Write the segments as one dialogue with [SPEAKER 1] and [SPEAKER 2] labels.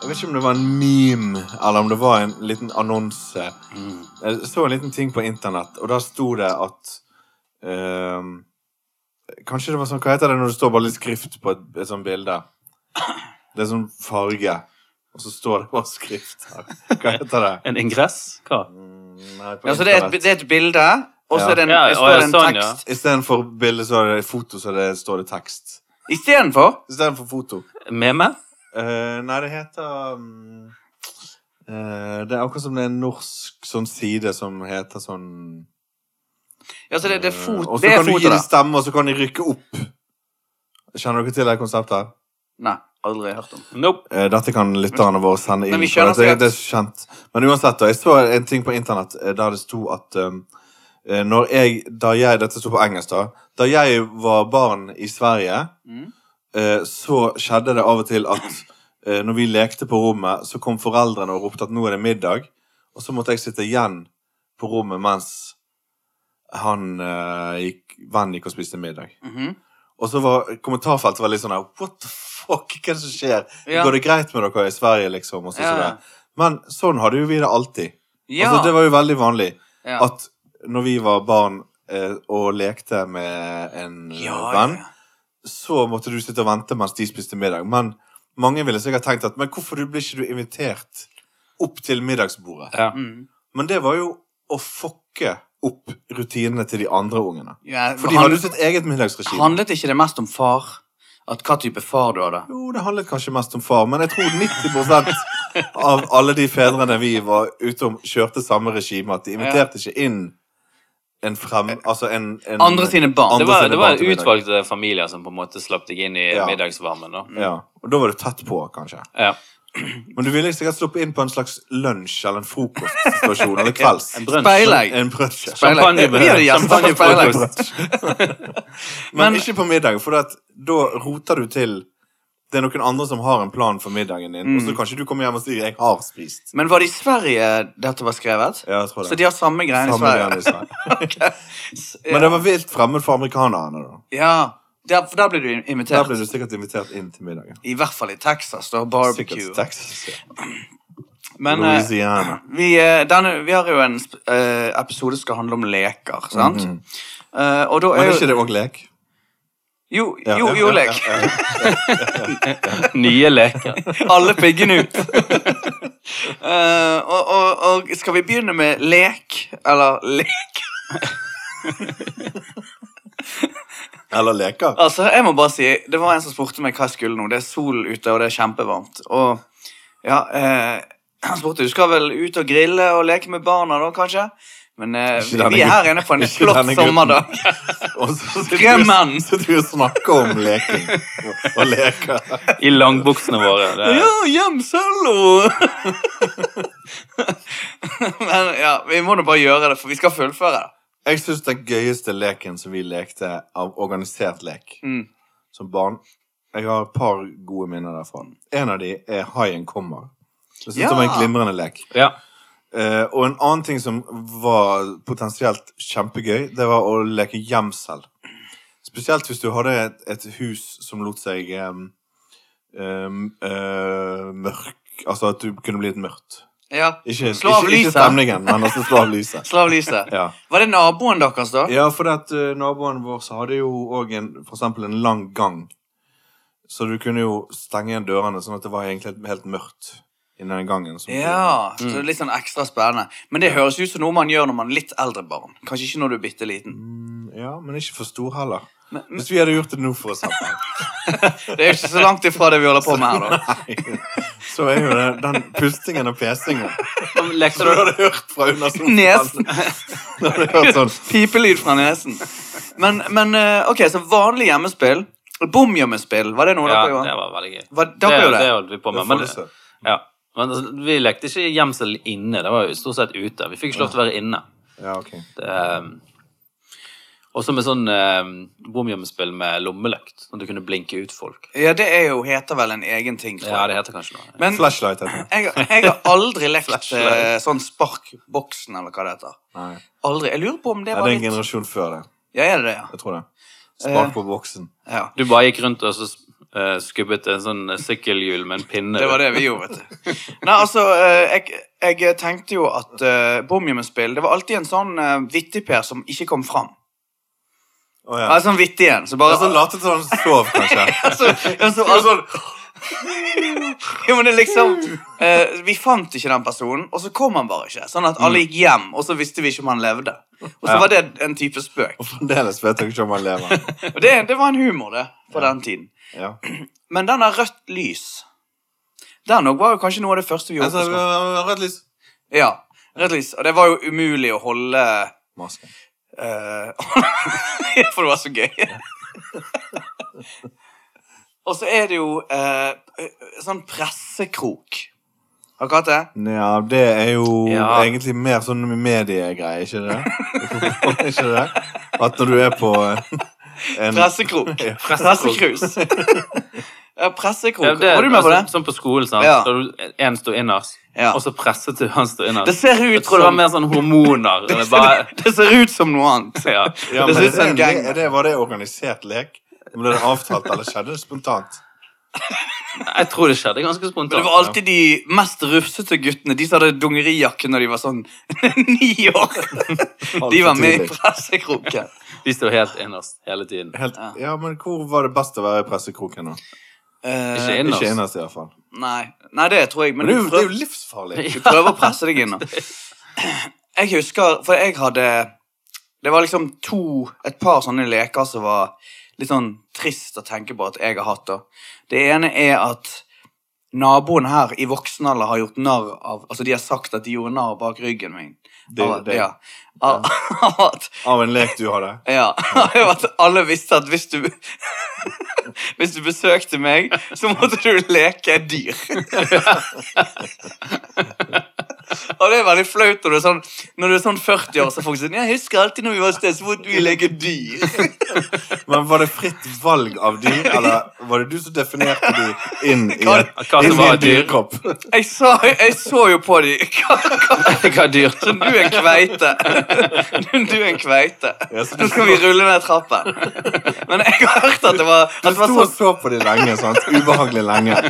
[SPEAKER 1] Jeg vet ikke om det var en meme, eller om det var en liten annonse.
[SPEAKER 2] Mm.
[SPEAKER 1] Jeg så en liten ting på internett, og der sto det at ehm, Kanskje det var sånn Hva heter det når det står bare litt skrift på et, et sånt bilde? Det er sånn farge, og så står det bare skrift her. Hva heter det?
[SPEAKER 3] En ingress? Hva?
[SPEAKER 1] Mm, Nei, på
[SPEAKER 2] Ja, så det er et,
[SPEAKER 1] internett.
[SPEAKER 2] det er et bilde, og så
[SPEAKER 1] Ja.
[SPEAKER 2] er det en,
[SPEAKER 3] Ja,
[SPEAKER 2] det
[SPEAKER 3] å, ja,
[SPEAKER 2] står en
[SPEAKER 3] sånn, ja.
[SPEAKER 2] tekst
[SPEAKER 1] Istedenfor bilde, så er det foto, så det, står det tekst.
[SPEAKER 2] istedenfor.
[SPEAKER 1] Istedenfor foto.
[SPEAKER 3] Meme?
[SPEAKER 1] Eh, nei, det heter mm, eh, Det er akkurat som det er en norsk sånn side som heter sånn
[SPEAKER 2] Ja, så det, det er
[SPEAKER 1] eh,
[SPEAKER 2] fot,
[SPEAKER 1] Og så
[SPEAKER 2] det er
[SPEAKER 1] kan du gi
[SPEAKER 2] foto,
[SPEAKER 1] det
[SPEAKER 2] da.
[SPEAKER 1] stemme, og så kan de rykke opp. Kjenner dere til det konseptet? her?
[SPEAKER 2] Nei, aldri hørt om.
[SPEAKER 3] Nope.
[SPEAKER 1] Eh, dette kan lytterne våre sende inn.
[SPEAKER 2] Men vi
[SPEAKER 1] for
[SPEAKER 2] skjønner
[SPEAKER 1] dette,
[SPEAKER 2] at-
[SPEAKER 1] det er så kjent. Men uansett, da, jeg så en ting på internett eh, der det sto at um, eh, når jeg, da jeg, Dette sto på engelsk, da. Da jeg var barn i Sverige,
[SPEAKER 2] Mhm.
[SPEAKER 1] eh, så skjedde det av og til at eh, når vi lekte på rommet, så kom foreldrene og ropte at nå er det middag. Og så måtte jeg sitte igjen på rommet mens han eh, gikk, vennen gikk og spiste middag.
[SPEAKER 2] Mhm.
[SPEAKER 1] Og så var kommentarfeltet var litt sånn her What the fuck? Hva er det som skjer?
[SPEAKER 2] Ja.
[SPEAKER 1] Går det greit med dere i Sverige, liksom? Og så,
[SPEAKER 2] Ja.
[SPEAKER 1] så det. Men sånn hadde jo vi det alltid.
[SPEAKER 2] Ja.
[SPEAKER 1] Altså, det var jo veldig vanlig
[SPEAKER 2] ja.
[SPEAKER 1] at når vi var barn eh, og lekte med en
[SPEAKER 2] Ja,
[SPEAKER 1] venn,
[SPEAKER 2] ja, ja.
[SPEAKER 1] så måtte du sitte og vente mens de spiste middag. Men mange ville sikkert tenkt at Men hvorfor du blir ikke du invitert opp til middagsbordet?
[SPEAKER 3] Ja.
[SPEAKER 2] Mm.
[SPEAKER 1] Men det var jo å fucke opp rutinene til de andre ungene.
[SPEAKER 2] ja
[SPEAKER 1] For de
[SPEAKER 2] han-
[SPEAKER 1] hadde jo sitt eget middagsregime.
[SPEAKER 2] Handlet ikke det mest om far? At hva type far du hadde?
[SPEAKER 1] Jo, det handlet kanskje mest om far, men jeg tror 90 av alle de fedrene vi var ute om, kjørte samme regime, at de inviterte ikke inn en frem... Altså en, en
[SPEAKER 2] Andre sine barn.
[SPEAKER 1] Andre
[SPEAKER 3] Det var,
[SPEAKER 1] sine
[SPEAKER 3] det
[SPEAKER 1] barn
[SPEAKER 3] var
[SPEAKER 1] til middag.
[SPEAKER 3] utvalgte familier som på en måte slapp deg inn i
[SPEAKER 1] Ja.
[SPEAKER 3] middagsvarmen. da.
[SPEAKER 1] Ja, og da var du tett på, kanskje.
[SPEAKER 3] Ja.
[SPEAKER 1] Men du ville sikkert sluppet inn på en slags lunsj eller en frokostsituasjon eller kvelds.
[SPEAKER 3] En brunch.
[SPEAKER 2] Speilegg.
[SPEAKER 1] En brunch.
[SPEAKER 2] Speilegg.
[SPEAKER 3] Champagnebehør.
[SPEAKER 2] Vi hadde gjester på
[SPEAKER 3] Champagnefrokost.
[SPEAKER 2] speilegg.
[SPEAKER 1] Men,
[SPEAKER 2] Men-
[SPEAKER 1] ikke på middag, for at, da roter du til det er noen andre som har en plan for middagen din,
[SPEAKER 2] Mm.
[SPEAKER 1] og så kanskje du kommer hjem og sier 'jeg har spist'.
[SPEAKER 2] Men var det i Sverige dette var skrevet?
[SPEAKER 1] Ja, jeg tror det.
[SPEAKER 2] Så de har samme greiene i
[SPEAKER 1] Samme
[SPEAKER 2] Sverige?
[SPEAKER 1] greiene i Sverige. Men det var vilt fremmed for amerikanerne, da.
[SPEAKER 2] Ja, der, for der ble du
[SPEAKER 1] Der
[SPEAKER 2] invitert.
[SPEAKER 1] ble du sikkert invitert inn til middagen.
[SPEAKER 2] I hvert fall i Texas, da.
[SPEAKER 1] Sikkert
[SPEAKER 2] Barbecue.
[SPEAKER 1] Texas. ja.
[SPEAKER 2] Men eh,
[SPEAKER 1] Louisiana.
[SPEAKER 2] vi, eh, denne, vi har jo en sp- eh, episode som skal handle om leker, sant? Eh, og da
[SPEAKER 1] Mhm. Men
[SPEAKER 2] er
[SPEAKER 1] er
[SPEAKER 2] jo
[SPEAKER 1] ikke det òg lek?
[SPEAKER 2] Jo,
[SPEAKER 1] Ja,
[SPEAKER 2] jo,
[SPEAKER 1] ja,
[SPEAKER 2] jo
[SPEAKER 1] ja,
[SPEAKER 2] lek.
[SPEAKER 1] ja, ja.
[SPEAKER 3] Nye leker.
[SPEAKER 2] Alle piggene ut. Eh, og, og, og skal vi begynne med lek? Eller lek?
[SPEAKER 1] Eller leker.
[SPEAKER 2] Altså, jeg må bare si, Det var en som spurte meg hva jeg skulle nå. Det er sol ute, og det er kjempevarmt. Og ja, eh, Han spurte du skal vel ut og grille og leke med barna, da, kanskje? Men eh,
[SPEAKER 1] Ikke
[SPEAKER 2] vi,
[SPEAKER 1] denne
[SPEAKER 2] vi er her
[SPEAKER 1] gutten.
[SPEAKER 2] inne på en
[SPEAKER 1] Ikke
[SPEAKER 2] flott
[SPEAKER 1] denne gutten.
[SPEAKER 2] sommerdag.
[SPEAKER 1] Og så
[SPEAKER 2] Drømmen!
[SPEAKER 1] sitter du og snakker om leking og leker.
[SPEAKER 3] I langbuksene våre. Det er
[SPEAKER 2] Ja, hjemsello! Men ja, vi må nå bare gjøre det, for vi skal fullføre det.
[SPEAKER 1] Jeg syns den gøyeste leken som vi lekte av organisert lek
[SPEAKER 2] Mm.
[SPEAKER 1] som barn Jeg har et par gode minner derfra. En av de er Haien kommer. Jeg syns
[SPEAKER 2] Ja.
[SPEAKER 1] det var en glimrende lek.
[SPEAKER 3] Ja.
[SPEAKER 1] Eh, og en annen ting som var potensielt kjempegøy, det var å leke gjemsel. Spesielt hvis du hadde et, et hus som lot seg eh, eh, eh, mørk Altså at du kunne bli litt mørkt.
[SPEAKER 2] Ja,
[SPEAKER 1] Ikke,
[SPEAKER 2] Slå av
[SPEAKER 1] ikke, ikke
[SPEAKER 2] lyset.
[SPEAKER 1] stemningen, men altså slå av lyset.
[SPEAKER 2] Slav Lise.
[SPEAKER 1] Ja.
[SPEAKER 2] Var det naboen deres, da?
[SPEAKER 1] Ja, for at eh, naboen vår så hadde jo òg en, for eksempel en lang gang. Så du kunne jo stenge igjen dørene, sånn at det var egentlig helt mørkt i den gangen. som-
[SPEAKER 2] Ja, så det er litt sånn ekstra spennende. Men det høres ut som noe man gjør når man er litt eldre barn. Kanskje ikke når du er bitte liten.
[SPEAKER 1] Mm, ja, men ikke for stor heller.
[SPEAKER 2] Men- men-
[SPEAKER 1] Hvis vi hadde gjort det nå, for eksempel.
[SPEAKER 2] Det er jo ikke så langt ifra det vi holder på med her, da.
[SPEAKER 1] Nei. Så er jo det den pustingen og pesingen
[SPEAKER 3] Lekte
[SPEAKER 1] som du
[SPEAKER 3] du
[SPEAKER 1] hadde hørt fra under sofaen.
[SPEAKER 2] Nesen.
[SPEAKER 1] Du hadde hørt sånn
[SPEAKER 2] Pipelyd fra nesen. Men, men eh, ok, så vanlig hjemmespill. Bomhjemmespill, var det noe
[SPEAKER 3] Ja,
[SPEAKER 2] dere
[SPEAKER 3] det
[SPEAKER 2] gjorde?
[SPEAKER 3] var veldig gøy.
[SPEAKER 2] Hva, dere gjorde
[SPEAKER 3] det
[SPEAKER 2] det?
[SPEAKER 3] holdt vi på med. Men, ja. men altså, vi lekte ikke gjemsel inne. Det var jo stort sett ute. Vi fikk ikke lov til å være inne.
[SPEAKER 1] Ja, ok.
[SPEAKER 3] Um, også med sånn um, bomgjemmespill med lommelykt, sånn at du kunne blinke ut folk.
[SPEAKER 2] Ja, det er jo, heter vel en egen ting. tror
[SPEAKER 3] Ja,
[SPEAKER 2] jeg.
[SPEAKER 3] det heter kanskje noe.
[SPEAKER 2] Men jeg,
[SPEAKER 1] Flashlight heter det.
[SPEAKER 2] jeg har aldri lekt
[SPEAKER 3] Flashlight.
[SPEAKER 2] eh, sånn sparkboksen, eller hva det heter.
[SPEAKER 1] Nei.
[SPEAKER 2] Aldri. Jeg lurer på om det
[SPEAKER 1] Ja,
[SPEAKER 2] var
[SPEAKER 1] det er en
[SPEAKER 2] litt
[SPEAKER 1] generasjon før det.
[SPEAKER 2] Ja, er det det, ja?
[SPEAKER 1] Jeg tror det. Smak på boksen.
[SPEAKER 2] ja.
[SPEAKER 3] Du bare gikk rundt og så eh, skubbet en sånn sykkelhjul med en pinne.
[SPEAKER 2] Det var det vi gjorde, vet du. Nei, altså, eh, jeg, jeg tenkte jo at eh, bomgjemmespill Det var alltid en sånn eh, vittigper som ikke kom fram.
[SPEAKER 1] Å ja.
[SPEAKER 2] Ja. En sånn vittig en. Så bare
[SPEAKER 1] Og så latet Altså, som han sov, kanskje.
[SPEAKER 2] Altså, altså,
[SPEAKER 1] sånn-
[SPEAKER 2] jo, men det er liksom eh, Vi fant ikke den personen, og så kom han bare ikke. Sånn at alle gikk hjem, og så visste vi ikke om han levde. Og så
[SPEAKER 1] Mm. Ja.
[SPEAKER 2] var det en type spøk.
[SPEAKER 1] Og fremdeles vet jeg ikke om han lever.
[SPEAKER 2] Og det, det var en humor, det, på den tiden.
[SPEAKER 1] Ja.
[SPEAKER 2] Men den der rødt lys Den òg var jo kanskje noe av det første vi gjorde.
[SPEAKER 1] Altså,
[SPEAKER 2] på skolen.
[SPEAKER 1] rødt lys.
[SPEAKER 2] Ja, rødt lys. Og det var jo umulig å holde
[SPEAKER 1] Maske.
[SPEAKER 2] eh, For det var så gøy. og så er det jo eh, sånn pressekrok. Har dere hatt det?
[SPEAKER 1] Ja, det er jo
[SPEAKER 3] Ja.
[SPEAKER 1] egentlig mer sånn mediegreie, ikke det? ikke det? At når du er på øh, en
[SPEAKER 2] Pressekrok. Pressekrus. ja, pressekrok.
[SPEAKER 3] Ja, det-
[SPEAKER 2] Var du med på det?
[SPEAKER 3] altså, Sånn på skolen, sant.
[SPEAKER 2] Ja.
[SPEAKER 3] Da du- en sto innerst,
[SPEAKER 2] Ja.
[SPEAKER 3] og så presset du han sto innerst.
[SPEAKER 2] Det ser
[SPEAKER 3] Jeg
[SPEAKER 2] ut
[SPEAKER 3] tror det var
[SPEAKER 2] som
[SPEAKER 3] mer sånn hormoner.
[SPEAKER 2] det
[SPEAKER 3] eller
[SPEAKER 2] ser,
[SPEAKER 3] bare,
[SPEAKER 2] det ser ut som noe annet.
[SPEAKER 3] ja.
[SPEAKER 2] det
[SPEAKER 1] ja, men
[SPEAKER 2] ser ut som
[SPEAKER 1] det,
[SPEAKER 2] en
[SPEAKER 1] det,
[SPEAKER 2] gang.
[SPEAKER 1] er det, Var det organisert lek? Ble det avtalt, eller skjedde det spontant?
[SPEAKER 3] Jeg tror det skjedde ganske
[SPEAKER 2] Men det
[SPEAKER 3] spontant.
[SPEAKER 2] var alltid de mest rufsete guttene. De som hadde dongerijakke når de var sånn ni år. De var med i pressekroken.
[SPEAKER 3] De sto helt innerst hele tiden.
[SPEAKER 1] Helt, ja, men hvor var det best å være i pressekroken nå?
[SPEAKER 2] Eh,
[SPEAKER 3] Ikke innerst.
[SPEAKER 1] Ikke innerst, i hvert fall.
[SPEAKER 2] nei, nei, det tror jeg. Men,
[SPEAKER 1] Men det er jo,
[SPEAKER 2] du
[SPEAKER 1] det er
[SPEAKER 2] prøv-
[SPEAKER 1] jo livsfarlig.
[SPEAKER 2] Du prøver å presse deg inn nå. Jeg husker, for jeg hadde Det var liksom to Et par sånne leker som var litt sånn trist å tenke på at jeg har hatt. da. Det ene er at naboen her i voksen alder har gjort narr av Altså, de har sagt at de gjorde narr bak ryggen min.
[SPEAKER 1] Det-
[SPEAKER 2] Av at-
[SPEAKER 1] det-
[SPEAKER 2] Ja. Av, av at
[SPEAKER 1] Av en lek du hadde.
[SPEAKER 2] ja, det var at alle visste at hvis du Hvis du besøkte meg, så måtte du leke et dyr. Og det er veldig flaut når du er sånn, når du er sånn 40 år, så er folk sånn Jeg husker alltid når vi var et sted, så måtte vi leke dyr.
[SPEAKER 1] Men var det fritt valg av dyr, eller var det du som definerte de inn i,
[SPEAKER 2] Hva-
[SPEAKER 3] hva som
[SPEAKER 1] inn i
[SPEAKER 3] var
[SPEAKER 1] en
[SPEAKER 3] dyr?
[SPEAKER 1] dyrekropp?
[SPEAKER 2] Jeg, sa, jeg så jo på dem.
[SPEAKER 3] Hva dyrt.
[SPEAKER 2] Du er en kveite. Du er en kveite.
[SPEAKER 1] Ja, så du
[SPEAKER 2] Nå skal vi rulle ned trappen. Men jeg har hørt at det var, at
[SPEAKER 1] Du
[SPEAKER 2] det var
[SPEAKER 1] sto
[SPEAKER 2] sånn
[SPEAKER 1] og så på de lenge, sant? ubehagelig lenge,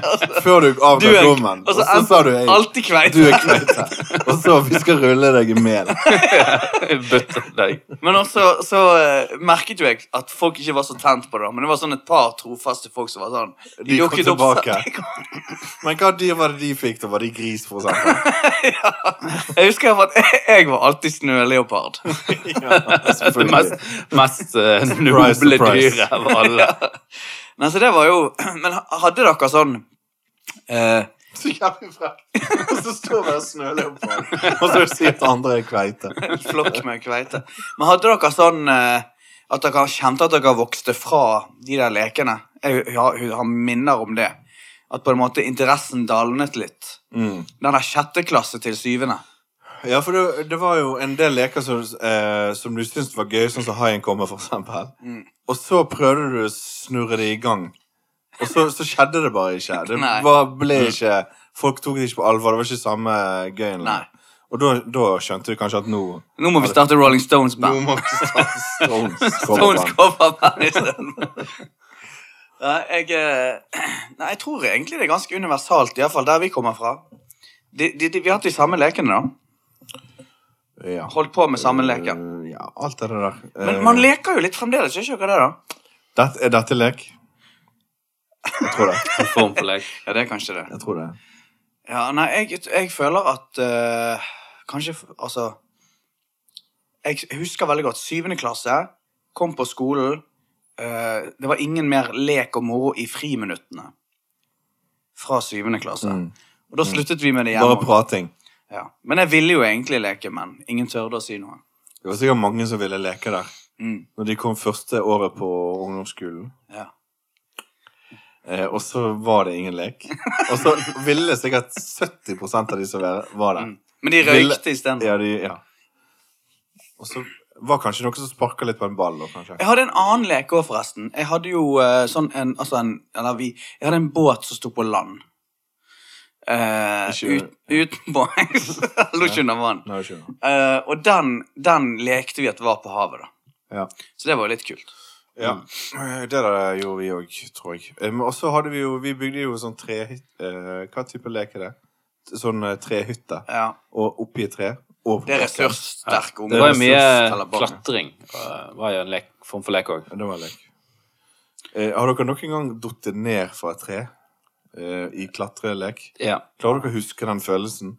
[SPEAKER 1] før du
[SPEAKER 2] Du er altså,
[SPEAKER 1] avga
[SPEAKER 2] en-
[SPEAKER 1] dommen.
[SPEAKER 2] og
[SPEAKER 1] Og
[SPEAKER 2] så
[SPEAKER 1] så
[SPEAKER 2] en-
[SPEAKER 1] sa du hei,
[SPEAKER 2] Alltid kveite.
[SPEAKER 1] du er kveite. Og så vi skal rulle deg i mel.
[SPEAKER 3] Bøtte deg.
[SPEAKER 2] Men også så eh, merket jo jeg at folk ikke var så tent på det. da. Men det var sånn et par trofaste folk som var sånn
[SPEAKER 1] De kom
[SPEAKER 2] dukket opp-
[SPEAKER 1] tilbake.
[SPEAKER 2] De kom-
[SPEAKER 1] Men hva dyr var det de fikk? da? Var de gris, for eksempel?
[SPEAKER 2] Jeg husker at jeg var alltid snøleopard.
[SPEAKER 3] Det mest, mest eh, noble
[SPEAKER 1] surprise.
[SPEAKER 3] dyret av alle.
[SPEAKER 2] Men så det var jo Men hadde dere sånn eh,
[SPEAKER 1] Så jævlig frekt. Og så står vi og snøler på den, og så sier at andre er kveite.
[SPEAKER 2] en flokk med kveite? Men hadde dere sånn eh, at dere kjente at dere vokste fra de der lekene? Jeg, jeg, har- jeg har minner om det. At på en måte interessen dalnet litt.
[SPEAKER 1] Mm.
[SPEAKER 2] Den der sjette klasse til syvende.
[SPEAKER 1] Ja, for det, det var jo en del leker som, eh, som du syntes var gøy, sånn som haien kommer, for eksempel.
[SPEAKER 2] Mm.
[SPEAKER 1] Og så prøvde du å snurre det i gang. Og så, så skjedde det bare ikke. Det
[SPEAKER 2] Nei.
[SPEAKER 1] var, ble ikke Folk tok det ikke på alvor. Det var ikke samme gøyen.
[SPEAKER 2] Nei.
[SPEAKER 1] Og da, da skjønte du kanskje at nå
[SPEAKER 2] Nå må vi starte Rolling Stones-band.
[SPEAKER 1] Nå må Stones komme
[SPEAKER 2] Stones
[SPEAKER 1] fram.
[SPEAKER 2] coverband isteden. Nei, jeg, eh, nei, jeg tror egentlig det er ganske universalt, iallfall der vi kommer fra. De, de, de, vi har hatt de samme lekene, da.
[SPEAKER 1] Ja.
[SPEAKER 2] Holdt på med samme leker.
[SPEAKER 1] Eh, Ja, alt er det der.
[SPEAKER 2] Men
[SPEAKER 1] Eh,
[SPEAKER 2] man leker jo litt fremdeles, gjør ikke dere det? da?
[SPEAKER 1] det- Er dette lek? Jeg tror det.
[SPEAKER 3] En form for lek.
[SPEAKER 2] Ja, det er kanskje det.
[SPEAKER 1] Jeg tror det.
[SPEAKER 2] Ja, nei, jeg, jeg føler at eh, Kanskje f- Altså Jeg husker veldig godt syvende klasse. Kom på skolen. eh, det var ingen mer lek og moro i friminuttene fra syvende klasse.
[SPEAKER 1] Mm.
[SPEAKER 2] Og da sluttet vi med det hjemme.
[SPEAKER 1] Bare prating.
[SPEAKER 2] Ja. Men jeg ville jo egentlig leke, men ingen tørde å si noe.
[SPEAKER 1] Det var sikkert mange som ville leke der.
[SPEAKER 2] Mm.
[SPEAKER 1] Når de kom første året på ungdomsskolen.
[SPEAKER 2] Ja.
[SPEAKER 1] Eh, og så var det ingen lek. Og så ville sikkert 70 av de som var var der.
[SPEAKER 2] Men de
[SPEAKER 1] Ville-
[SPEAKER 2] røykte isteden.
[SPEAKER 1] Ja, de, ja. Og så var kanskje noe som sparka litt på en ball. da, kanskje.
[SPEAKER 2] Jeg hadde en annen leke òg, forresten. Jeg hadde jo eh, sånn en, altså en Eller vi Jeg hadde en båt som sto på land. Eh,
[SPEAKER 1] Ikke-
[SPEAKER 2] ut, Utenbords. Lå ikke under vann.
[SPEAKER 1] Nei, jeg skjønner.
[SPEAKER 2] Eh, og den, den lekte vi at var på havet, da.
[SPEAKER 1] Ja.
[SPEAKER 2] Så det var jo litt kult.
[SPEAKER 1] ja. Mm. Det der gjorde vi òg, tror jeg. Um, og så hadde vi jo Vi bygde jo sånn trehytte eh, Hva type lek er det? Sånn eh, trehytte.
[SPEAKER 2] Ja.
[SPEAKER 1] Og oppi et tre. Og på
[SPEAKER 2] Det er
[SPEAKER 1] bakken.
[SPEAKER 2] ressurssterke
[SPEAKER 3] Det
[SPEAKER 2] unger.
[SPEAKER 3] var jo mye
[SPEAKER 2] Ressursteller barn.
[SPEAKER 3] klatring. eh, var jo en lek, form for lek òg.
[SPEAKER 1] Ja, Det var en lek. Eh, har dere noen gang datt ned fra et tre eh, i klatrelek?
[SPEAKER 3] Ja.
[SPEAKER 1] Klarer dere å huske den følelsen?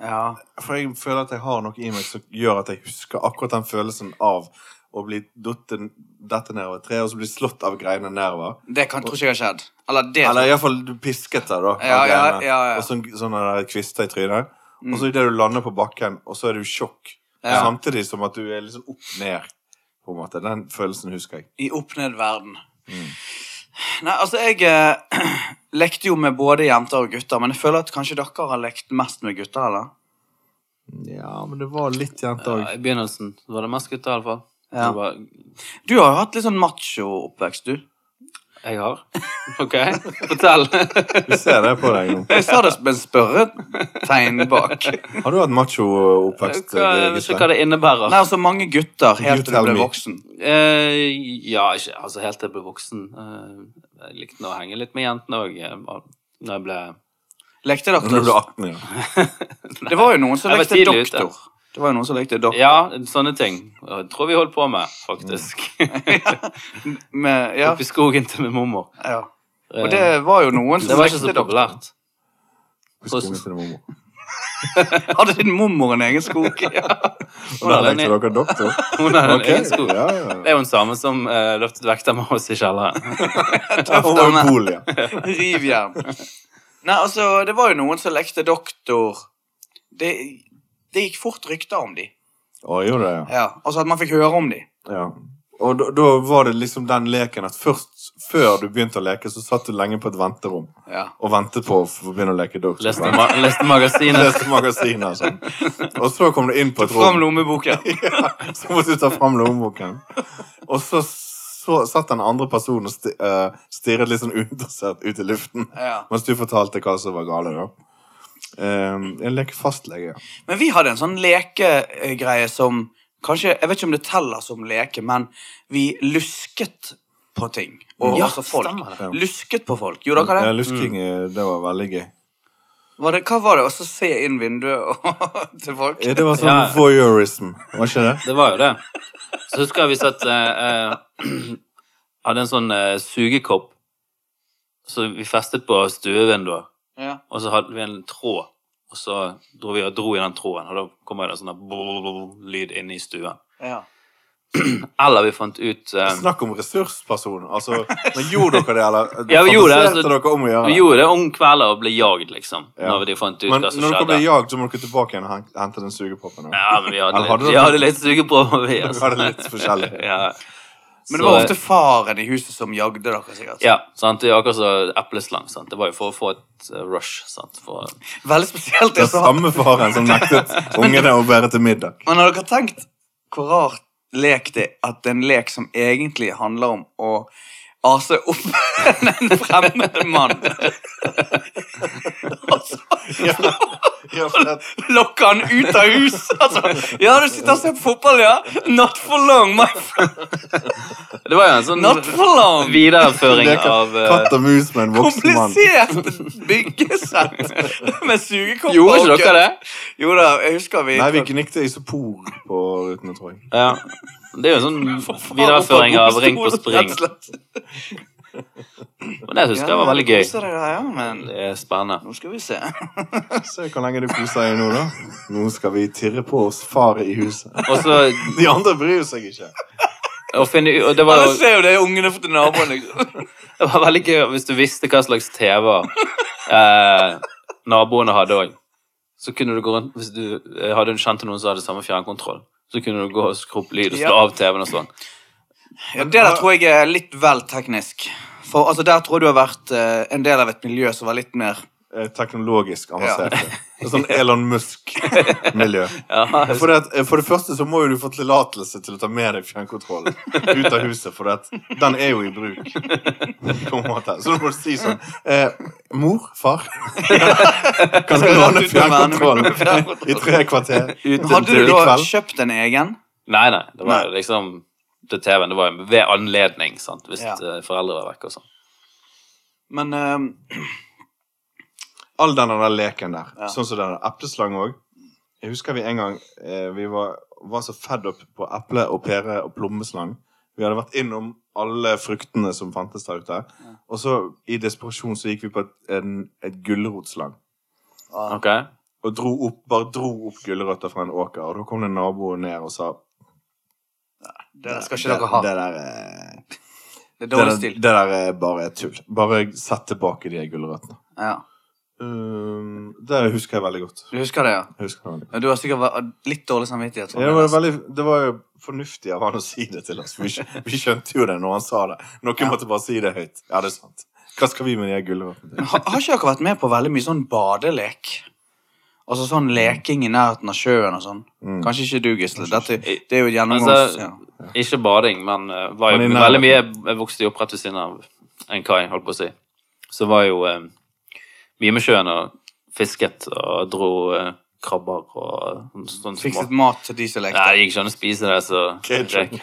[SPEAKER 2] Ja.
[SPEAKER 1] For jeg føler at jeg har noe i meg som gjør at jeg husker akkurat den følelsen av å bli datt dette ned over et tre, og så bli slått av greinene nedover.
[SPEAKER 2] Det kan, tror ikke jeg har skjedd. Eller det
[SPEAKER 1] Eller iallfall pisket der, da. av
[SPEAKER 2] Ja, ja,
[SPEAKER 1] greinene.
[SPEAKER 2] ja, ja.
[SPEAKER 1] Og sånn, sånne der kvister i trynet. Og så idet du lander på bakken, og så er du i sjokk.
[SPEAKER 2] Ja.
[SPEAKER 1] Samtidig som at du er liksom opp ned, på en måte. Den følelsen husker jeg.
[SPEAKER 2] I opp-ned-verden.
[SPEAKER 1] Mm.
[SPEAKER 2] Nei, altså, jeg eh, lekte jo med både jenter og gutter, men jeg føler at kanskje dere har lekt mest med gutter, eller?
[SPEAKER 1] Ja, men det var litt jenter
[SPEAKER 3] Ja, I begynnelsen var det mest gutter, iallfall.
[SPEAKER 2] Ja.
[SPEAKER 3] Var,
[SPEAKER 2] Du har jo hatt litt sånn macho-oppvekst, du.
[SPEAKER 3] jeg har. OK, fortell.
[SPEAKER 1] Du ser det på deg nå.
[SPEAKER 2] Jeg sa det med en spørretegn bak. Nei,
[SPEAKER 1] Har du hatt eh, macho-oppvekst?
[SPEAKER 3] Hva, jeg vet ikke hva det innebærer.
[SPEAKER 2] altså, mange gutter helt
[SPEAKER 1] You
[SPEAKER 2] til
[SPEAKER 1] tell
[SPEAKER 2] du ble
[SPEAKER 1] me.
[SPEAKER 2] voksen.
[SPEAKER 3] Eh, ja, ikke altså helt til jeg ble voksen. Eh, jeg likte nå å henge litt med jentene òg. Når jeg ble
[SPEAKER 2] Lekte dere
[SPEAKER 1] Når du ble 18, ja.
[SPEAKER 2] Det var jo noen som
[SPEAKER 3] Jeg var
[SPEAKER 2] lekte
[SPEAKER 3] tidlig ute.
[SPEAKER 2] doktor. Det var jo noen som lekte doktor.
[SPEAKER 3] Ja, sånne ting. Og jeg tror vi holdt på med, faktisk.
[SPEAKER 2] Med, Mm. ja,
[SPEAKER 3] Oppe i skogen til min mormor.
[SPEAKER 2] ja.
[SPEAKER 3] Eh,
[SPEAKER 2] Og det var jo noen
[SPEAKER 3] det
[SPEAKER 2] som
[SPEAKER 3] var ikke
[SPEAKER 2] lekte
[SPEAKER 3] så
[SPEAKER 2] doktor.
[SPEAKER 3] populært.
[SPEAKER 1] Husker ungen til mormor.
[SPEAKER 2] Hadde din mormor en egen skog?
[SPEAKER 1] Og der lekte dere doktor.
[SPEAKER 3] Hun hadde en
[SPEAKER 1] Ok,
[SPEAKER 3] egen skog.
[SPEAKER 1] Ja, ja.
[SPEAKER 3] Det er jo den samme som eh, løftet vekter med oss i kjelleren.
[SPEAKER 1] Hun var jo cool, ja.
[SPEAKER 2] Rivjern. Nei, altså, det var jo noen som lekte doktor. Det, det gikk fort rykter om de.
[SPEAKER 1] Å, gjorde det, ja.
[SPEAKER 2] Ja, altså at man fikk høre om de.
[SPEAKER 1] Ja. Og da, da var det liksom den leken at først før du begynte å leke, så satt du lenge på et venterom
[SPEAKER 2] Ja.
[SPEAKER 1] og ventet på å få begynne å leke Dogs.
[SPEAKER 3] Leste, ma leste magasinet.
[SPEAKER 1] Leste magasiner og sånn. Og så kom du inn på et
[SPEAKER 2] Fram
[SPEAKER 1] rom,
[SPEAKER 2] lommeboken.
[SPEAKER 1] så måtte du ta fram lommeboken. Og så, så satt den andre personen og sti, eh, stirret litt sånn uinteressert ut i luften
[SPEAKER 2] Ja.
[SPEAKER 1] mens du fortalte hva som var gale, da. Eh, jeg leker fastlege. ja.
[SPEAKER 2] Men vi hadde en sånn lekegreie som Kanskje, Jeg vet ikke om det teller som leke, men vi lusket på ting. Og
[SPEAKER 3] Ja,
[SPEAKER 2] altså folk.
[SPEAKER 3] stemmer
[SPEAKER 1] det.
[SPEAKER 2] Lusket på folk. Gjorde dere
[SPEAKER 1] Ja,
[SPEAKER 2] det?
[SPEAKER 1] Lusking,
[SPEAKER 3] Mm.
[SPEAKER 1] eh, det var veldig gøy.
[SPEAKER 2] Var det? Hva var det? Å se inn vinduet og, til folk?
[SPEAKER 1] Eh, Det var sånn
[SPEAKER 3] Ja.
[SPEAKER 1] voyeurism, var ikke det?
[SPEAKER 3] Det var jo det. Så husker jeg vi satt eh, eh, Hadde en sånn eh, sugekopp som vi festet på stuevinduet.
[SPEAKER 2] Ja.
[SPEAKER 3] Og så hadde vi en tråd, og så dro vi og dro i den tråden. Og da kom det en sånn der blululul-lyd inne i stuen.
[SPEAKER 2] Ja.
[SPEAKER 3] Eller vi fant ut eh,
[SPEAKER 1] Snakk om ressursperson. Altså, men gjorde dere det, eller?
[SPEAKER 3] Ja, vi gjorde det,
[SPEAKER 1] fantaserte
[SPEAKER 3] altså.
[SPEAKER 1] dere om å gjøre
[SPEAKER 3] Vi
[SPEAKER 1] det?
[SPEAKER 3] gjorde det om kvelden og ble jagd, liksom.
[SPEAKER 1] Ja.
[SPEAKER 3] Når de fant ut
[SPEAKER 1] Men
[SPEAKER 3] hva som
[SPEAKER 1] når dere ble
[SPEAKER 3] skjedde.
[SPEAKER 1] jagd, så må dere tilbake igjen og hen- hente den sugepoppen. da.
[SPEAKER 3] Ja, men vi hadde
[SPEAKER 1] Eller hadde
[SPEAKER 3] litt, vi
[SPEAKER 1] dere-
[SPEAKER 3] hadde litt sugeprøver, vi.
[SPEAKER 1] Dere
[SPEAKER 3] Altså.
[SPEAKER 1] hadde litt forskjellig.
[SPEAKER 3] Ja.
[SPEAKER 2] Men
[SPEAKER 3] Så-
[SPEAKER 2] det var ofte faren i huset som jagde dere, sikkert.
[SPEAKER 3] ja, sant? Det er akkurat som epleslang. sant? Det var jo for å få et eh, rush. sant? For,
[SPEAKER 2] Veldig spesielt.
[SPEAKER 1] Det
[SPEAKER 2] Det,
[SPEAKER 1] er samme faren som nektet ungene å bære til middag.
[SPEAKER 2] Men har dere tenkt hvor rart lek det er at en lek som egentlig handler om å ase opp en fremmed mann Og så
[SPEAKER 1] Ja, ja, for det-
[SPEAKER 2] lokke han ut av huset. Altså. Ja, du sitter og ser på fotball, ja. Not for long, my friend.
[SPEAKER 3] det var jo en sånn
[SPEAKER 2] Not for long.
[SPEAKER 3] videreføring
[SPEAKER 1] leker
[SPEAKER 3] av eh,
[SPEAKER 1] Katt og mus med en voksen mann.
[SPEAKER 2] Komplisert byggesett med sugekopper.
[SPEAKER 3] Gjorde ikke
[SPEAKER 2] og-
[SPEAKER 3] dere det?
[SPEAKER 2] Jo da, jeg husker vi
[SPEAKER 1] Nei, vi gnikte isopor på rutene, tror jeg.
[SPEAKER 3] Ja. Det er jo en sånn videreføring av Ring på spring. Men det syns jeg var veldig gøy.
[SPEAKER 2] Ja, det der, ja, men
[SPEAKER 3] Det er spennende.
[SPEAKER 2] nå skal vi se.
[SPEAKER 1] Se hvor lenge du koser deg nå, da. Nå skal vi tirre på oss far i huset.
[SPEAKER 3] Og så
[SPEAKER 1] De andre bryr seg ikke.
[SPEAKER 3] å finne ut Og det var
[SPEAKER 2] Alle
[SPEAKER 3] jo
[SPEAKER 2] ser jo det ungene får til naboen. Liksom.
[SPEAKER 3] Det var veldig gøy hvis du visste hva slags TV-er eh, naboene hadde òg. Så kunne du gå rundt Hvis du eh, hadde du kjente noen som hadde samme fjernkontroll, så kunne du gå og skru opp lyd og slå
[SPEAKER 2] Ja.
[SPEAKER 3] av TV-en og sånn.
[SPEAKER 2] Ja, det der tror jeg er litt vel teknisk. For altså, der tror jeg du har vært eh, en del av et miljø som var litt mer
[SPEAKER 1] eh, teknologisk avanserte. Det er Sånn Elon Musk-miljø.
[SPEAKER 3] Ja,
[SPEAKER 1] For, det at- eh, for det første så må jo du få tillatelse til å ta med deg fjernkontrollen ut av huset, for det at den er jo i bruk. På en måte. Så du må si sånn eh, Mor? Far? Kan du låne fjernkontrollen i tre kvarter?
[SPEAKER 3] uten
[SPEAKER 2] Hadde du
[SPEAKER 3] til-
[SPEAKER 1] i
[SPEAKER 2] da
[SPEAKER 1] kveld.
[SPEAKER 2] kjøpt en egen?
[SPEAKER 3] Nei, nei. Det var
[SPEAKER 2] Nei.
[SPEAKER 3] liksom til TV-en. Det var jo ved anledning, sant. Hvis
[SPEAKER 2] Ja.
[SPEAKER 3] eh, foreldre var vekke og sånn.
[SPEAKER 2] Men ehm,
[SPEAKER 1] All den der leken der.
[SPEAKER 2] Ja.
[SPEAKER 1] Sånn som den epleslang òg. Jeg husker vi en gang eh, vi var, var så fed up på eple og pære og plommeslang. Vi hadde vært innom alle fruktene som fantes der ute. Og så i desperasjon så gikk vi på et, en, et gulrotslang.
[SPEAKER 2] ah,
[SPEAKER 3] Ok?
[SPEAKER 1] Og dro opp, bare dro opp gulrøtter fra en åker. Og da kom det en nabo ned og sa
[SPEAKER 2] det skal ikke dere ha.
[SPEAKER 1] Det, det der, eh,
[SPEAKER 2] Det er
[SPEAKER 1] det,
[SPEAKER 2] dårlig
[SPEAKER 1] der,
[SPEAKER 2] stil.
[SPEAKER 1] det der er bare tull. Bare sett tilbake de gulrøttene.
[SPEAKER 2] Ja.
[SPEAKER 1] Um, det husker jeg veldig godt.
[SPEAKER 2] Du husker det, ja?
[SPEAKER 1] Jeg husker det veldig godt.
[SPEAKER 2] Ja, Du har sikkert vært litt dårlig samvittighet. for
[SPEAKER 1] Ja, det,
[SPEAKER 2] det,
[SPEAKER 1] var
[SPEAKER 2] altså.
[SPEAKER 1] veldig, det var jo fornuftig av han å si det til oss. Vi, skj- vi skjønte jo det når han sa det. Noen måtte bare si det høyt. Ja, det er sant. Hva skal vi med de her gulrøttene til?
[SPEAKER 2] Ha- Har ikke dere vært med på veldig mye sånn badelek? Altså sånn leking i nærheten av sjøen og sånn.
[SPEAKER 1] Mm.
[SPEAKER 2] Kanskje ikke du, Gisle. Dette, det er jo et gjennomgangs...
[SPEAKER 3] Altså,
[SPEAKER 2] Ja.
[SPEAKER 3] Ikke bading, men eh, var jo
[SPEAKER 1] Men i nærheten.
[SPEAKER 3] veldig mye Jeg vokste jo opp rett ved siden av en kai, holdt på å si. Så var jo eh, Vimesjøen og fisket og dro eh, krabber og sånn- sånn
[SPEAKER 2] Fikset mat til de som lekte.
[SPEAKER 3] Nei, jeg gikk ikke an å spise det, så
[SPEAKER 1] Catering.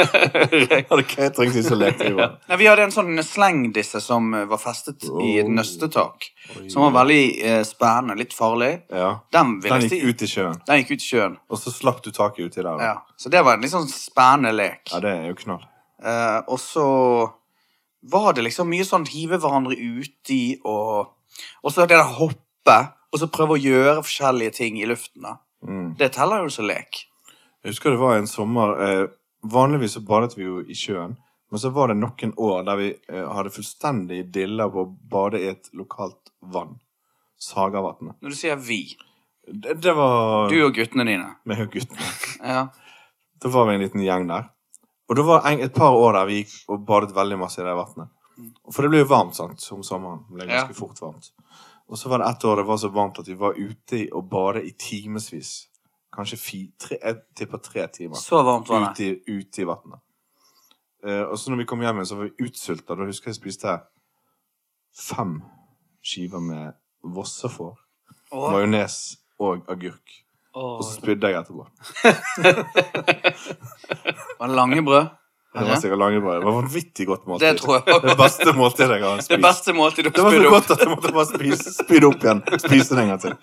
[SPEAKER 3] Røyk.
[SPEAKER 1] Hadde catering siden så lekte vi var.
[SPEAKER 2] Nei, vi hadde en sånn slengdisse som eh, var festet i et
[SPEAKER 1] Oh.
[SPEAKER 2] nøstetak. Som var veldig eh, spennende, litt farlig.
[SPEAKER 1] Ja.
[SPEAKER 2] Den, vil
[SPEAKER 1] Den
[SPEAKER 2] jeg
[SPEAKER 1] gikk
[SPEAKER 2] si-
[SPEAKER 1] ut i sjøen,
[SPEAKER 2] den gikk ut i sjøen.
[SPEAKER 1] og så slapp du taket uti der. da.
[SPEAKER 2] Ja. Så det var en litt sånn spennende lek.
[SPEAKER 1] Ja, det er jo knall.
[SPEAKER 2] Eh, og så var det liksom mye sånn hive hverandre uti og Og så det der hoppe, og så prøve å gjøre forskjellige ting i luften. da.
[SPEAKER 1] Mm.
[SPEAKER 2] Det teller jo som lek.
[SPEAKER 1] Jeg husker det var en sommer eh, Vanligvis så badet vi jo i sjøen. Men så var det noen år der vi eh, hadde fullstendig dilla på å bade i et lokalt vann. Sagavatnet.
[SPEAKER 2] Når du sier vi,
[SPEAKER 1] Det, det var
[SPEAKER 2] du og guttene dine
[SPEAKER 1] med guttene.
[SPEAKER 2] ja.
[SPEAKER 1] Da var vi en liten gjeng der. Og det var en, et par år der vi gikk og badet veldig masse i det vannet.
[SPEAKER 2] Mm.
[SPEAKER 1] For det ble jo varmt sant, om sommeren. Det ble ganske fort varmt. Og så var det ett år det var så varmt at vi var ute i- og badet i timevis. Kanskje fi, tre, jeg tipper tre timer
[SPEAKER 2] Så varmt var det.
[SPEAKER 1] ute i, ute i vannet. Eh, og så når vi kom hjem igjen, så var vi utsulta. Da husker jeg jeg spiste fem skiver med vossefår,
[SPEAKER 2] Åh,
[SPEAKER 1] majones og agurk. Og så
[SPEAKER 2] åh.
[SPEAKER 1] spydde jeg etterpå.
[SPEAKER 2] Var det lange brød?
[SPEAKER 1] Det var sikkert langebrød. Det var vanvittig godt måltid.
[SPEAKER 2] Det tror jeg
[SPEAKER 1] Det
[SPEAKER 2] var
[SPEAKER 1] beste måltidet jeg har spist.
[SPEAKER 2] det beste måltidet du
[SPEAKER 1] Det var så
[SPEAKER 2] spydde opp.
[SPEAKER 1] godt at jeg måtte bare spise, spyde opp igjen. Spise det en gang til.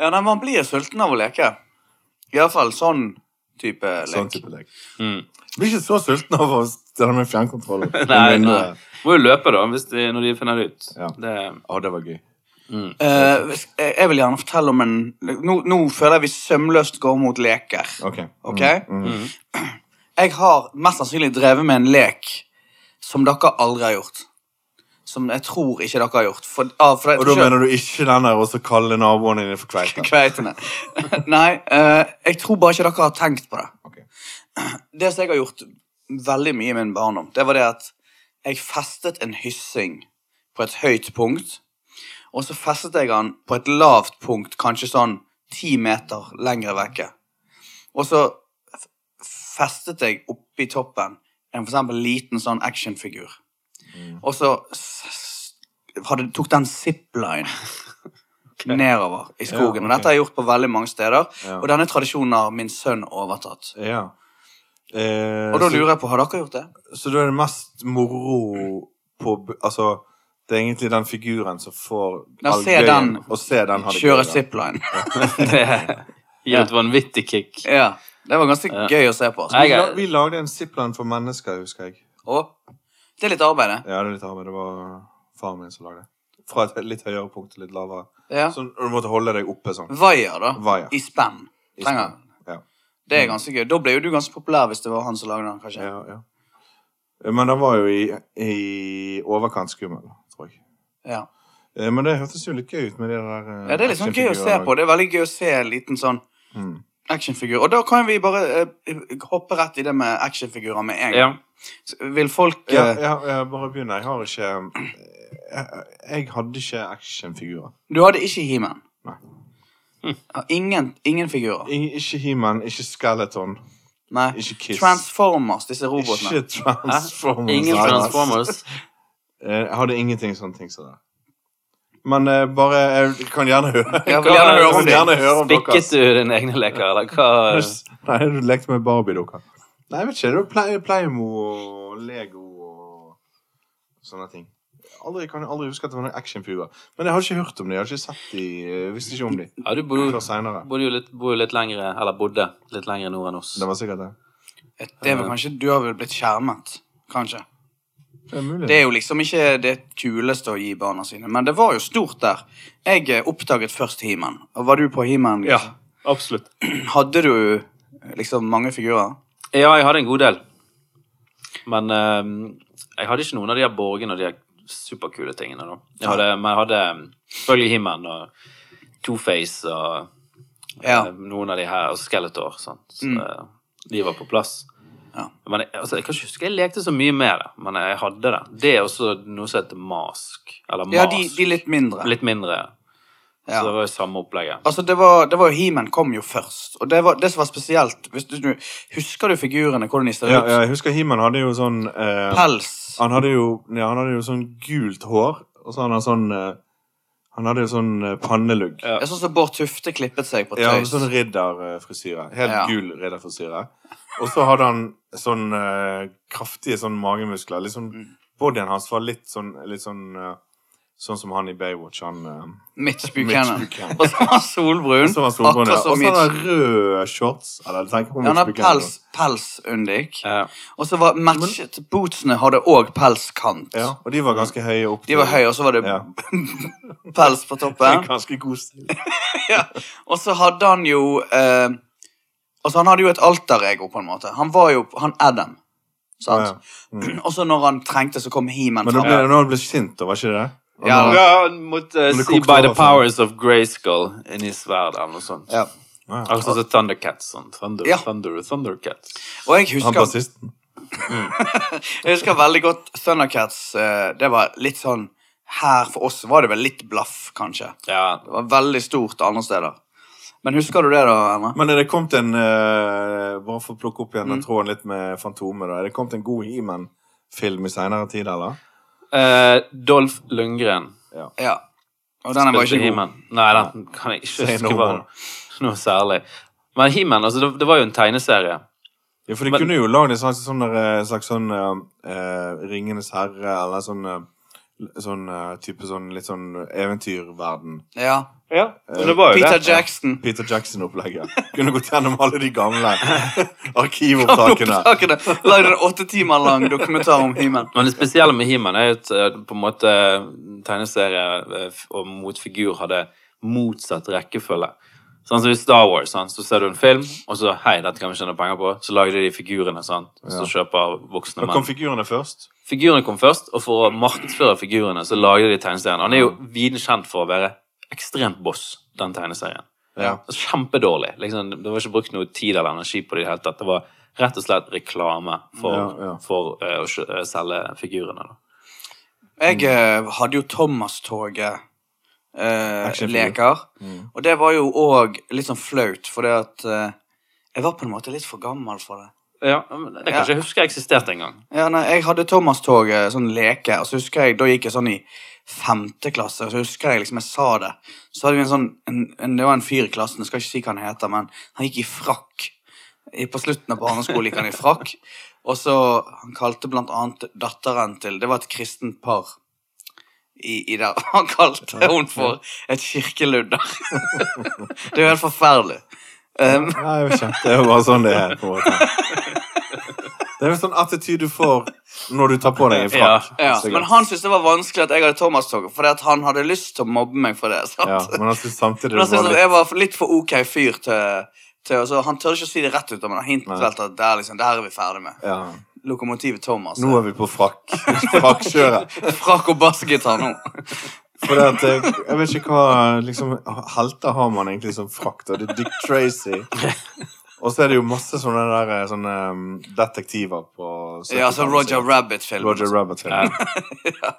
[SPEAKER 2] Ja, nei, man blir sulten av å leke. Iallfall sånn type lek.
[SPEAKER 1] Sånn type lek.
[SPEAKER 3] Mm.
[SPEAKER 1] Jeg Blir ikke så sulten av å stelle med fjernkontrollen.
[SPEAKER 3] Nei,
[SPEAKER 1] Men,
[SPEAKER 3] nei.
[SPEAKER 1] eh,
[SPEAKER 3] Må jo løpe, da, hvis de, når de finner det ut.
[SPEAKER 1] Ja.
[SPEAKER 3] Det,
[SPEAKER 1] Å, det var gøy.
[SPEAKER 3] mm.
[SPEAKER 2] Eh, hvis- jeg jeg vil gjerne fortelle om en Nå, nå føler jeg vi sømløst går mot leker.
[SPEAKER 1] Ok.
[SPEAKER 2] Ok?
[SPEAKER 1] Mm. Mm.
[SPEAKER 2] Jeg har mest sannsynlig drevet med en lek som dere aldri har gjort. Som jeg tror ikke dere har gjort. For, ah, for
[SPEAKER 1] Og da mener du ikke den der og så kalle naboene dine for kveita?
[SPEAKER 2] Kveitene. Nei, eh, jeg tror bare ikke dere har tenkt på det.
[SPEAKER 1] Ok.
[SPEAKER 2] Det som jeg har gjort veldig mye i min barndom, det var det at jeg festet en hyssing på et høyt punkt, og så festet jeg den på et lavt punkt, kanskje sånn ti meter lengre vekke. Og så f- festet jeg oppi toppen en for eksempel liten sånn actionfigur.
[SPEAKER 1] Mm.
[SPEAKER 2] Og så s- s- hadde, tok den zipline nedover i skogen.
[SPEAKER 1] Ja,
[SPEAKER 2] Og dette har jeg gjort på veldig mange steder,
[SPEAKER 1] Ja.
[SPEAKER 2] og denne tradisjonen har min sønn overtatt.
[SPEAKER 1] Ja. Eh,
[SPEAKER 2] Og da
[SPEAKER 1] så-
[SPEAKER 2] lurer jeg på, har dere gjort det?
[SPEAKER 1] Så da er det mest moro på bu- Altså, det er egentlig den figuren som får
[SPEAKER 2] Ja,
[SPEAKER 1] all
[SPEAKER 2] se
[SPEAKER 1] gøyen,
[SPEAKER 2] den.
[SPEAKER 1] Og se den ha det
[SPEAKER 2] Kjøre
[SPEAKER 1] gøy, da.
[SPEAKER 2] zipline.
[SPEAKER 3] det gir et vanvittig kick.
[SPEAKER 2] ja. Det var ganske
[SPEAKER 3] Ja.
[SPEAKER 2] gøy å se på. altså.
[SPEAKER 3] Nei.
[SPEAKER 1] Vi, la, vi lagde en zipline for mennesker, husker jeg.
[SPEAKER 2] Og det er litt arbeid, det.
[SPEAKER 1] Ja, det er litt arbeid. Det var faren min som lagde det. Fra et litt høyere punkt til litt lavere.
[SPEAKER 2] Ja.
[SPEAKER 1] Sånn, og du måtte holde deg oppe sånn.
[SPEAKER 2] Vaier, da.
[SPEAKER 1] Vaier.
[SPEAKER 2] I spenn.
[SPEAKER 1] I
[SPEAKER 2] Mm, Trenger.
[SPEAKER 1] Ja.
[SPEAKER 2] Det er ganske gøy. Da ble jo du ganske populær hvis det var han som lagde den, kanskje.
[SPEAKER 1] Ja, ja. Men den var jo i, i overkant skummel, tror jeg.
[SPEAKER 2] Ja.
[SPEAKER 1] Eh, Men det hørtes jo litt gøy ut med de der eh,
[SPEAKER 2] Ja, det er litt sånn gøy å se
[SPEAKER 1] actionfigurene.
[SPEAKER 2] på. Det er veldig gøy å se en liten sånn
[SPEAKER 1] Mm.
[SPEAKER 2] actionfigur. Og da kan vi bare eh, hoppe rett i det med actionfigurer med en gang.
[SPEAKER 3] Ja.
[SPEAKER 2] S- Vil folk
[SPEAKER 1] Ja,
[SPEAKER 2] eh,
[SPEAKER 1] ja, ja, bare begynn. Jeg har ikke eh, jeg, jeg hadde ikke actionfigurer.
[SPEAKER 2] Du hadde ikke He-Man. Hm.
[SPEAKER 1] Nei.
[SPEAKER 2] Ja, Ingen, ingen figurer.
[SPEAKER 1] I- Ikke He-Man, ikke Skeleton,
[SPEAKER 2] Nei.
[SPEAKER 1] ikke Kiss.
[SPEAKER 2] Transformers, disse robotene.
[SPEAKER 1] Ikke Transformers.
[SPEAKER 3] Ingen
[SPEAKER 1] nei, altså. nei.
[SPEAKER 3] Transformers.
[SPEAKER 1] Eh, Jeg hadde ingenting sånne ting som det. Men eh, bare Jeg kan gjerne høre.
[SPEAKER 2] Jeg vil gjerne høre
[SPEAKER 1] Kan
[SPEAKER 2] om det.
[SPEAKER 1] gjerne høre om
[SPEAKER 3] Spikket
[SPEAKER 1] deres.
[SPEAKER 3] du dine egne leker, eller hva?
[SPEAKER 1] Nei, du lekte med Barbie-dukker. Nei, jeg vet ikke. Det var Play- Playmo og Lego og sånne ting. Aldri, jeg kan aldri huske at det var noen actionfigurer. Men jeg har ikke hørt om dem. Jeg har ikke sett de, jeg visste ikke om dem
[SPEAKER 3] Ja, du bor,
[SPEAKER 1] før seinere.
[SPEAKER 3] bodde jo litt, bor jo litt lengre, eller bodde litt lengre nord enn oss.
[SPEAKER 1] Det var sikkert det.
[SPEAKER 2] Eh, Det er vel kanskje, Du har vel blitt skjermet, kanskje.
[SPEAKER 1] Det er mulig.
[SPEAKER 2] Det er jo liksom ikke det kuleste å gi barna sine, men det var jo stort der. Jeg eh, oppdaget først He-Man. Og Var du på He-Man? Lisa?
[SPEAKER 3] absolutt.
[SPEAKER 2] Hadde du eh, liksom mange figurer?
[SPEAKER 3] Ja, jeg hadde en god del. Men ehm, jeg hadde ikke noen av de her borgene og de her superkule tingene. da. Jeg hadde, men jeg hadde ehm, selvfølgelig He-Man og Two-Face og
[SPEAKER 2] Ja. Mm.
[SPEAKER 3] eh, noen av de her, og Skeletor. Sant? Så, eh, De var på plass.
[SPEAKER 2] Ja.
[SPEAKER 3] Men jeg, altså, jeg kan ikke huske jeg lekte så mye med det, men jeg hadde det. Det er også noe som heter mask. Eller mask.
[SPEAKER 2] Ja, de, de litt mindre.
[SPEAKER 3] Litt mindre. Så det
[SPEAKER 2] Ja.
[SPEAKER 3] var jo samme opplegget.
[SPEAKER 2] Altså, det var, det var jo He-Man kom jo først, og det, var, det som var spesielt hvis du, du, Husker du figurene, hvordan de ser ut?
[SPEAKER 1] ja, ja, jeg husker He-Man hadde jo sånn eh,
[SPEAKER 2] Pels.
[SPEAKER 1] han, hadde jo, ja, han hadde jo sånn gult hår, og så hadde han sånn eh, Han hadde jo sånn eh, pannelugg.
[SPEAKER 3] Ja.
[SPEAKER 2] Jeg sånn som Bård Tufte klippet seg på
[SPEAKER 1] Ja, med
[SPEAKER 2] tøys.
[SPEAKER 1] sånn ridderfrisyre. Helt
[SPEAKER 2] Ja.
[SPEAKER 1] gul ridderfrisyre. Og så hadde han sånn eh, kraftige sånn magemuskler. Litt
[SPEAKER 2] Mm.
[SPEAKER 1] sånn, Bodyen hans var litt sånn, litt sånn eh, Sånn som han i Baywatch, han eh,
[SPEAKER 2] Mitch
[SPEAKER 1] Mitch
[SPEAKER 2] Buchanan.
[SPEAKER 1] Buchanan.
[SPEAKER 2] Og så var han solbrun.
[SPEAKER 1] Så var solbrun, ja.
[SPEAKER 2] Akkurat som
[SPEAKER 1] Og så hadde
[SPEAKER 2] Mitch.
[SPEAKER 1] han røde shorts. Eller jeg tenker på
[SPEAKER 2] Ja, Han
[SPEAKER 1] Mitch
[SPEAKER 2] har
[SPEAKER 1] Buchanan.
[SPEAKER 2] pels, pels undik.
[SPEAKER 3] Ja.
[SPEAKER 2] Og så var matchet Bootsene hadde òg pelskant.
[SPEAKER 1] Ja, og de var ganske høye opp.
[SPEAKER 2] De var høye, og så var det
[SPEAKER 1] Ja.
[SPEAKER 2] pels på toppen.
[SPEAKER 1] Ganske god stil.
[SPEAKER 2] Og så hadde han jo eh, Altså, han hadde jo et alter-ego, på en måte. Han var jo han Adam.
[SPEAKER 1] Ja,
[SPEAKER 2] Sant?
[SPEAKER 1] ja. Mm.
[SPEAKER 2] Og så når han trengte, så kom He-Man
[SPEAKER 1] Men nå
[SPEAKER 2] fram.
[SPEAKER 1] ble, nå ble du sint, da, var ikke det? Og
[SPEAKER 2] Ja,
[SPEAKER 1] nå-
[SPEAKER 3] Ja, han måtte eh,
[SPEAKER 1] Men det
[SPEAKER 3] si
[SPEAKER 1] kokte
[SPEAKER 3] by the
[SPEAKER 1] over for han.
[SPEAKER 3] powers of Grayskull inni sverdet eller noe sånt.
[SPEAKER 2] Ja.
[SPEAKER 1] Ja.
[SPEAKER 3] Altså så Thundercats. Sånn. Thunder,
[SPEAKER 2] Ja.
[SPEAKER 3] Thunder, Thundercats.
[SPEAKER 2] Og jeg
[SPEAKER 1] Han
[SPEAKER 2] husker,
[SPEAKER 1] bassisten.
[SPEAKER 2] jeg husker veldig godt Thundercats. eh, det var litt sånn Her for oss var det vel litt blaff, kanskje.
[SPEAKER 3] Ja.
[SPEAKER 2] Det var veldig stort andre steder. Men husker du det, da, Erne?
[SPEAKER 1] Men er det kommet en eh, Bare for å plukke opp igjen den tråden litt med Fantomet, da. Er det kommet en god He-Man-film i seinere tid, eller?
[SPEAKER 3] Eh, Dolph Lundgren.
[SPEAKER 2] Ja. Og den var ikke god.
[SPEAKER 3] He-Man. Nei, den kan jeg ikke
[SPEAKER 1] Say
[SPEAKER 3] huske
[SPEAKER 1] no
[SPEAKER 3] var
[SPEAKER 1] more.
[SPEAKER 3] noe særlig. Men He-Man, altså, det, det var jo en tegneserie.
[SPEAKER 1] Ja, for de
[SPEAKER 3] Men-
[SPEAKER 1] kunne jo lagd en slags sånn, der, eh, slags sånn eh, eh, Ringenes herre, eller sånn eh, Sånn eh, type sånn litt sånn eventyrverden.
[SPEAKER 2] Ja.
[SPEAKER 3] Ja,
[SPEAKER 1] men det
[SPEAKER 3] var
[SPEAKER 2] Peter Jackson.
[SPEAKER 1] Peter Jackson-opplegget. Kunne gått gjennom alle de gamle arkivopptakene.
[SPEAKER 2] Opptakene. Lagde en åtte timer lang dokumentar om He-Man.
[SPEAKER 3] Men det spesielle med He-Man er jo at eh, på en måte tegneserie eh, f- og motfigur hadde motsatt rekkefølge. Sånn som i Star Wars, sant? så ser du en film, og så hei, dette kan vi tjene penger på. Så lager de de figurene, sant? så
[SPEAKER 1] Ja.
[SPEAKER 3] kjøper voksne
[SPEAKER 1] Da kom
[SPEAKER 3] menn.
[SPEAKER 1] figurene først.
[SPEAKER 3] Figurene kom først, og for å markedsføre figurene, så lager de tegneserien. Han er jo viden kjent for å være ekstremt boss, den tegneserien. Altså,
[SPEAKER 1] Ja.
[SPEAKER 3] Kjempedårlig. Liksom, det var ikke brukt noe tid eller energi på det i det hele tatt. Det var rett og slett reklame for,
[SPEAKER 1] Ja, ja.
[SPEAKER 3] for eh, å kjø- eh, selge figurene. Da.
[SPEAKER 2] Jeg eh, hadde jo Thomas-toget. Eh,
[SPEAKER 1] Actionfigur.
[SPEAKER 2] leker.
[SPEAKER 1] Mm.
[SPEAKER 2] Og det var jo òg litt sånn flaut, fordi at eh, Jeg var på en måte litt for gammel for det.
[SPEAKER 3] Ja, men det kan
[SPEAKER 2] Ja.
[SPEAKER 3] ikke jeg huske eksisterte engang.
[SPEAKER 2] Ja, nei, Jeg hadde Thomas-toget, sånn leke, og så husker jeg, da gikk jeg sånn i femte klasse, og så husker jeg liksom jeg sa det. Så hadde vi en sånn, en, en, det var en fyr i klassen, jeg skal ikke si hva han heter, men han gikk i frakk. I- På slutten av barneskolen gikk han i frakk, og så han kalte blant annet datteren til, det var et kristent par. I, i der. Han kalte hun for et kirkeludder. det er jo helt forferdelig. Um,
[SPEAKER 1] Nei, jeg vet ikke. Det er jo bare sånn det er. på en måte. Det er jo sånn attityd du får når du tar på deg en frakk.
[SPEAKER 2] Ja,
[SPEAKER 1] Sikkert.
[SPEAKER 2] men han syntes det var vanskelig at jeg hadde Thomas-toget, fordi at han hadde lyst til å mobbe meg for det. sant?
[SPEAKER 1] ja, men han synes samtidig
[SPEAKER 2] Men altså,
[SPEAKER 1] det
[SPEAKER 2] han
[SPEAKER 1] var
[SPEAKER 2] syntes at jeg
[SPEAKER 1] litt
[SPEAKER 2] var litt for ok fyr til, til så Han tørde ikke å si det rett ut, men han hintet
[SPEAKER 1] Nei.
[SPEAKER 2] vel til at det er liksom, det her er vi ferdig med.
[SPEAKER 1] ja.
[SPEAKER 2] Lokomotivet altså. Thomas.
[SPEAKER 1] Nå er vi på frakk. Frakkjøret.
[SPEAKER 2] Frakk og bassgitar nå.
[SPEAKER 1] For det at jeg, jeg vet ikke hva liksom, Helter har man egentlig som frakt, og det er Dick Tracy. Og så er det jo masse sånne der eh, sånne um, detektiver på
[SPEAKER 2] altså liksom. Ja, så Roger Rabbit-filmen.
[SPEAKER 1] Roger Rabbit.
[SPEAKER 3] Ja.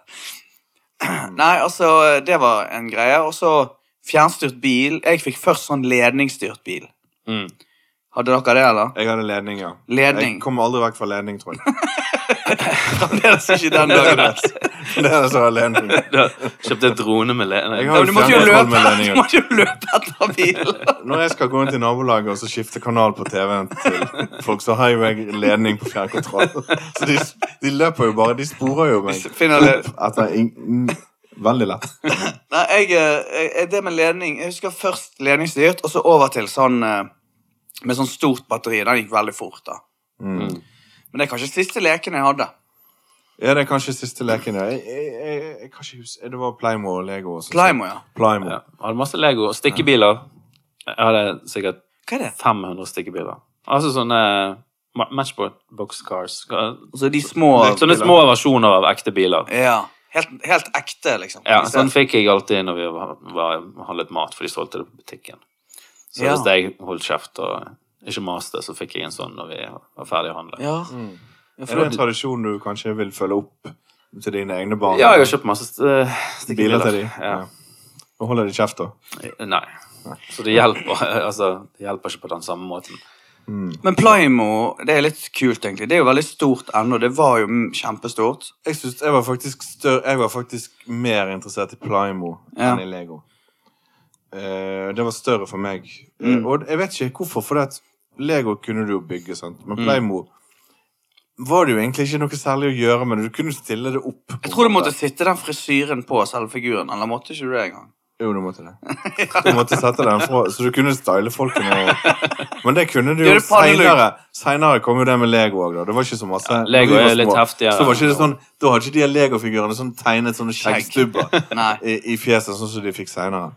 [SPEAKER 2] Nei, altså, det var en greie. Og så fjernstyrt bil. Jeg fikk først sånn ledningsstyrt bil.
[SPEAKER 3] Mm.
[SPEAKER 2] Hadde dere det, eller?
[SPEAKER 1] Jeg hadde ledning, ja.
[SPEAKER 2] Ledning.
[SPEAKER 1] Jeg kommer aldri vekk fra ledning, tror jeg.
[SPEAKER 2] Fremdeles ikke den dagen.
[SPEAKER 1] Det er så ledning.
[SPEAKER 3] Du har kjøpt en drone med le...
[SPEAKER 1] Jeg
[SPEAKER 2] Ja,
[SPEAKER 1] har
[SPEAKER 2] men du måtte jo
[SPEAKER 1] fjernkontroll
[SPEAKER 2] løpe,
[SPEAKER 1] med
[SPEAKER 2] du
[SPEAKER 1] ledningen.
[SPEAKER 2] måtte jo løpe etter bilen.
[SPEAKER 1] Når jeg skal gå inn til nabolaget og så skifte kanal på TV-en til folk, så har jo jeg ledning på fjernkontroll. Så de, de løper jo bare. De sporer jo meg.
[SPEAKER 2] Finner det.
[SPEAKER 1] Etter ingen Veldig lett.
[SPEAKER 2] Nei, jeg, eh, jeg, det med ledning Jeg husker først ledningsstyrt, og så over til sånn eh, med sånn stort batteri. Den gikk veldig fort, da.
[SPEAKER 1] Mm.
[SPEAKER 2] Men det er kanskje siste leken jeg hadde.
[SPEAKER 1] Ja, det er kanskje siste leken, ja. Jeg, jeg, jeg, jeg kan ikke huske Det var Playmo og Lego. Også,
[SPEAKER 2] Plymo, ja.
[SPEAKER 1] Plymo.
[SPEAKER 3] Ja. Jeg hadde masse Lego og stikkebiler. Jeg hadde sikkert
[SPEAKER 2] Hva er det?
[SPEAKER 3] 500 stikkebiler. Altså sånne ma- Matchbox cars. Sånne
[SPEAKER 2] Altså de små
[SPEAKER 3] små versjoner av ekte biler.
[SPEAKER 2] Ja. Helt, helt ekte, liksom.
[SPEAKER 3] Ja,
[SPEAKER 2] I stedet-
[SPEAKER 3] sånn fikk jeg alltid når vi var, var, handlet mat, for de solgte det på butikken. Så
[SPEAKER 2] Ja.
[SPEAKER 3] hvis jeg holdt kjeft og ikke maste, så fikk jeg en sånn når vi var ferdig å handle.
[SPEAKER 2] Ja.
[SPEAKER 1] Mm.
[SPEAKER 2] Ja,
[SPEAKER 1] Er
[SPEAKER 2] for
[SPEAKER 1] det
[SPEAKER 2] da-
[SPEAKER 1] en tradisjon du kanskje vil følge opp til dine egne barn?
[SPEAKER 3] Ja, jeg har kjøpt masse st- eh, stikkebiler.
[SPEAKER 1] biler til dem.
[SPEAKER 3] Ja.
[SPEAKER 1] Nå holder de kjeft, da.
[SPEAKER 3] Nei. Så det hjelper, altså, det hjelper ikke på den samme måten.
[SPEAKER 1] Mm.
[SPEAKER 2] Men Plymo, det er litt kult, egentlig. Det er jo veldig stort ennå. Det var jo mm, kjempestort.
[SPEAKER 1] Jeg, synes, jeg, var faktisk større, jeg var faktisk mer interessert i Plymo
[SPEAKER 2] Ja.
[SPEAKER 1] enn i Lego. Eh, det var større for meg. Eh,
[SPEAKER 2] Mm.
[SPEAKER 1] og jeg vet ikke hvorfor, for at Lego kunne du jo bygge, sant?
[SPEAKER 2] Mm.
[SPEAKER 1] men Plymo var det jo egentlig ikke noe særlig å gjøre med. det. Du kunne stille det opp. på
[SPEAKER 2] Jeg tror
[SPEAKER 1] en
[SPEAKER 2] du
[SPEAKER 1] måte.
[SPEAKER 2] måtte sitte den frisyren på selve figuren. Eller måtte ikke du det engang?
[SPEAKER 1] Jo, du måtte det. Du måtte sette den fra, så du kunne style folkene. Og... Men det kunne du
[SPEAKER 2] Gjør
[SPEAKER 1] jo
[SPEAKER 2] det pannelugg.
[SPEAKER 1] seinere. Seinere kom jo det med Lego òg, da. Det var ikke så masse
[SPEAKER 3] Lego
[SPEAKER 1] når vi var
[SPEAKER 3] er litt
[SPEAKER 1] små,
[SPEAKER 3] heftigere.
[SPEAKER 1] Så var ikke det sånn, Da hadde ikke de her Lego-figurene sånn tegnet sånne skjeggstubber
[SPEAKER 2] Nei.
[SPEAKER 1] i, i fjeset, sånn som de fikk seinere.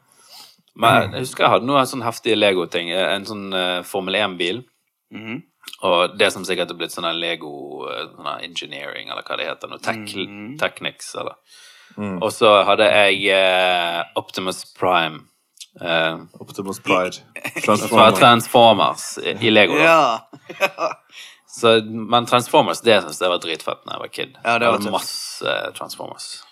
[SPEAKER 3] Men
[SPEAKER 2] Mm.
[SPEAKER 3] jeg husker jeg hadde noen sånn heftige Lego-ting. En sånn eh, Formel 1-bil.
[SPEAKER 2] Mhm.
[SPEAKER 3] Og det som sikkert er blitt sånn her Lego eh, sånn her engineering, eller hva det heter. Noe tech
[SPEAKER 2] Mhm.
[SPEAKER 3] technics, eller.
[SPEAKER 2] Mm.
[SPEAKER 3] Og så hadde jeg eh, Optimus Prime eh,
[SPEAKER 1] Optimus Pride.
[SPEAKER 3] fra
[SPEAKER 1] Transformer.
[SPEAKER 3] Transformers i, i Lego. da.
[SPEAKER 2] Ja.
[SPEAKER 3] Så, men Transformers, det synes jeg var dritfett da jeg var kid.
[SPEAKER 2] Ja, det var
[SPEAKER 3] Jeg
[SPEAKER 2] tøft.
[SPEAKER 3] hadde masse eh, Transformers.
[SPEAKER 1] Ja,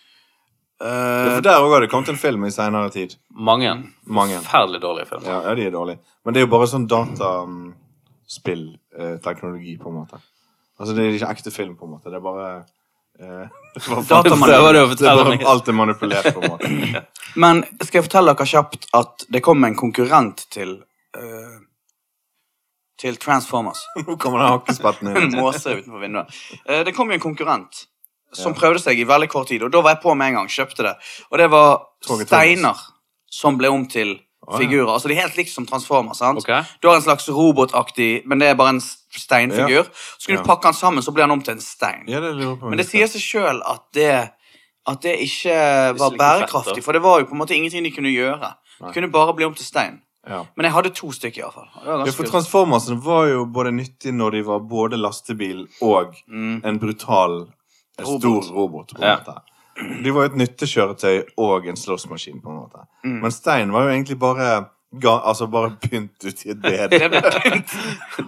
[SPEAKER 2] Eh,
[SPEAKER 1] For der òg har det kommet en film i seinere tid.
[SPEAKER 3] Mange.
[SPEAKER 1] Mange.
[SPEAKER 3] Forferdelig dårlige filmer.
[SPEAKER 1] Ja, ja, de er dårlige. Men det er jo bare sånn dataspillteknologi, på en måte. Altså, det er ikke ekte film, på en måte. Det er bare eh,
[SPEAKER 2] Datamanipulert.
[SPEAKER 3] Prøver du å
[SPEAKER 1] Det
[SPEAKER 3] fortelle
[SPEAKER 1] er
[SPEAKER 3] meg?
[SPEAKER 1] bare, alt er manipulert, på en måte.
[SPEAKER 2] men skal jeg fortelle dere kjapt at det kom en konkurrent til eh, Til Transformers.
[SPEAKER 1] Nå kommer den hakkespetten
[SPEAKER 2] en
[SPEAKER 1] inn.
[SPEAKER 2] måse utenfor vinduet. Eh, Det kom jo en konkurrent som prøvde seg i veldig kort tid, og da var jeg på med en gang. Kjøpte det. Og det var
[SPEAKER 1] Toget Thomas.
[SPEAKER 2] steiner som ble om til
[SPEAKER 1] Å, ja.
[SPEAKER 2] figurer. Altså de er helt likt som Transformers. sant?
[SPEAKER 3] Ok.
[SPEAKER 2] Du har en slags robotaktig, men det er bare en s- steinfigur. Så kunne du
[SPEAKER 1] Ja.
[SPEAKER 2] pakke den sammen, så ble han om til en stein.
[SPEAKER 1] Ja, det lurer på
[SPEAKER 2] Men det sier seg sjøl at det at det ikke var
[SPEAKER 3] ligger fett, da.
[SPEAKER 2] bærekraftig, for det var jo på en måte ingenting de kunne gjøre. De kunne bare bli om til stein.
[SPEAKER 1] Ja.
[SPEAKER 2] Men jeg hadde to stykker, iallfall.
[SPEAKER 1] Ja, for Transformersen var jo både nyttig når de var både lastebil og en brutal, eh,
[SPEAKER 2] Mm. Robot.
[SPEAKER 1] stor robot. på en
[SPEAKER 3] Ja.
[SPEAKER 1] måte. De var jo et nyttekjøretøy og en slåssmaskin, på en måte.
[SPEAKER 2] Mm.
[SPEAKER 1] Men Stein var jo egentlig bare ga, altså bare pynt uti et bed.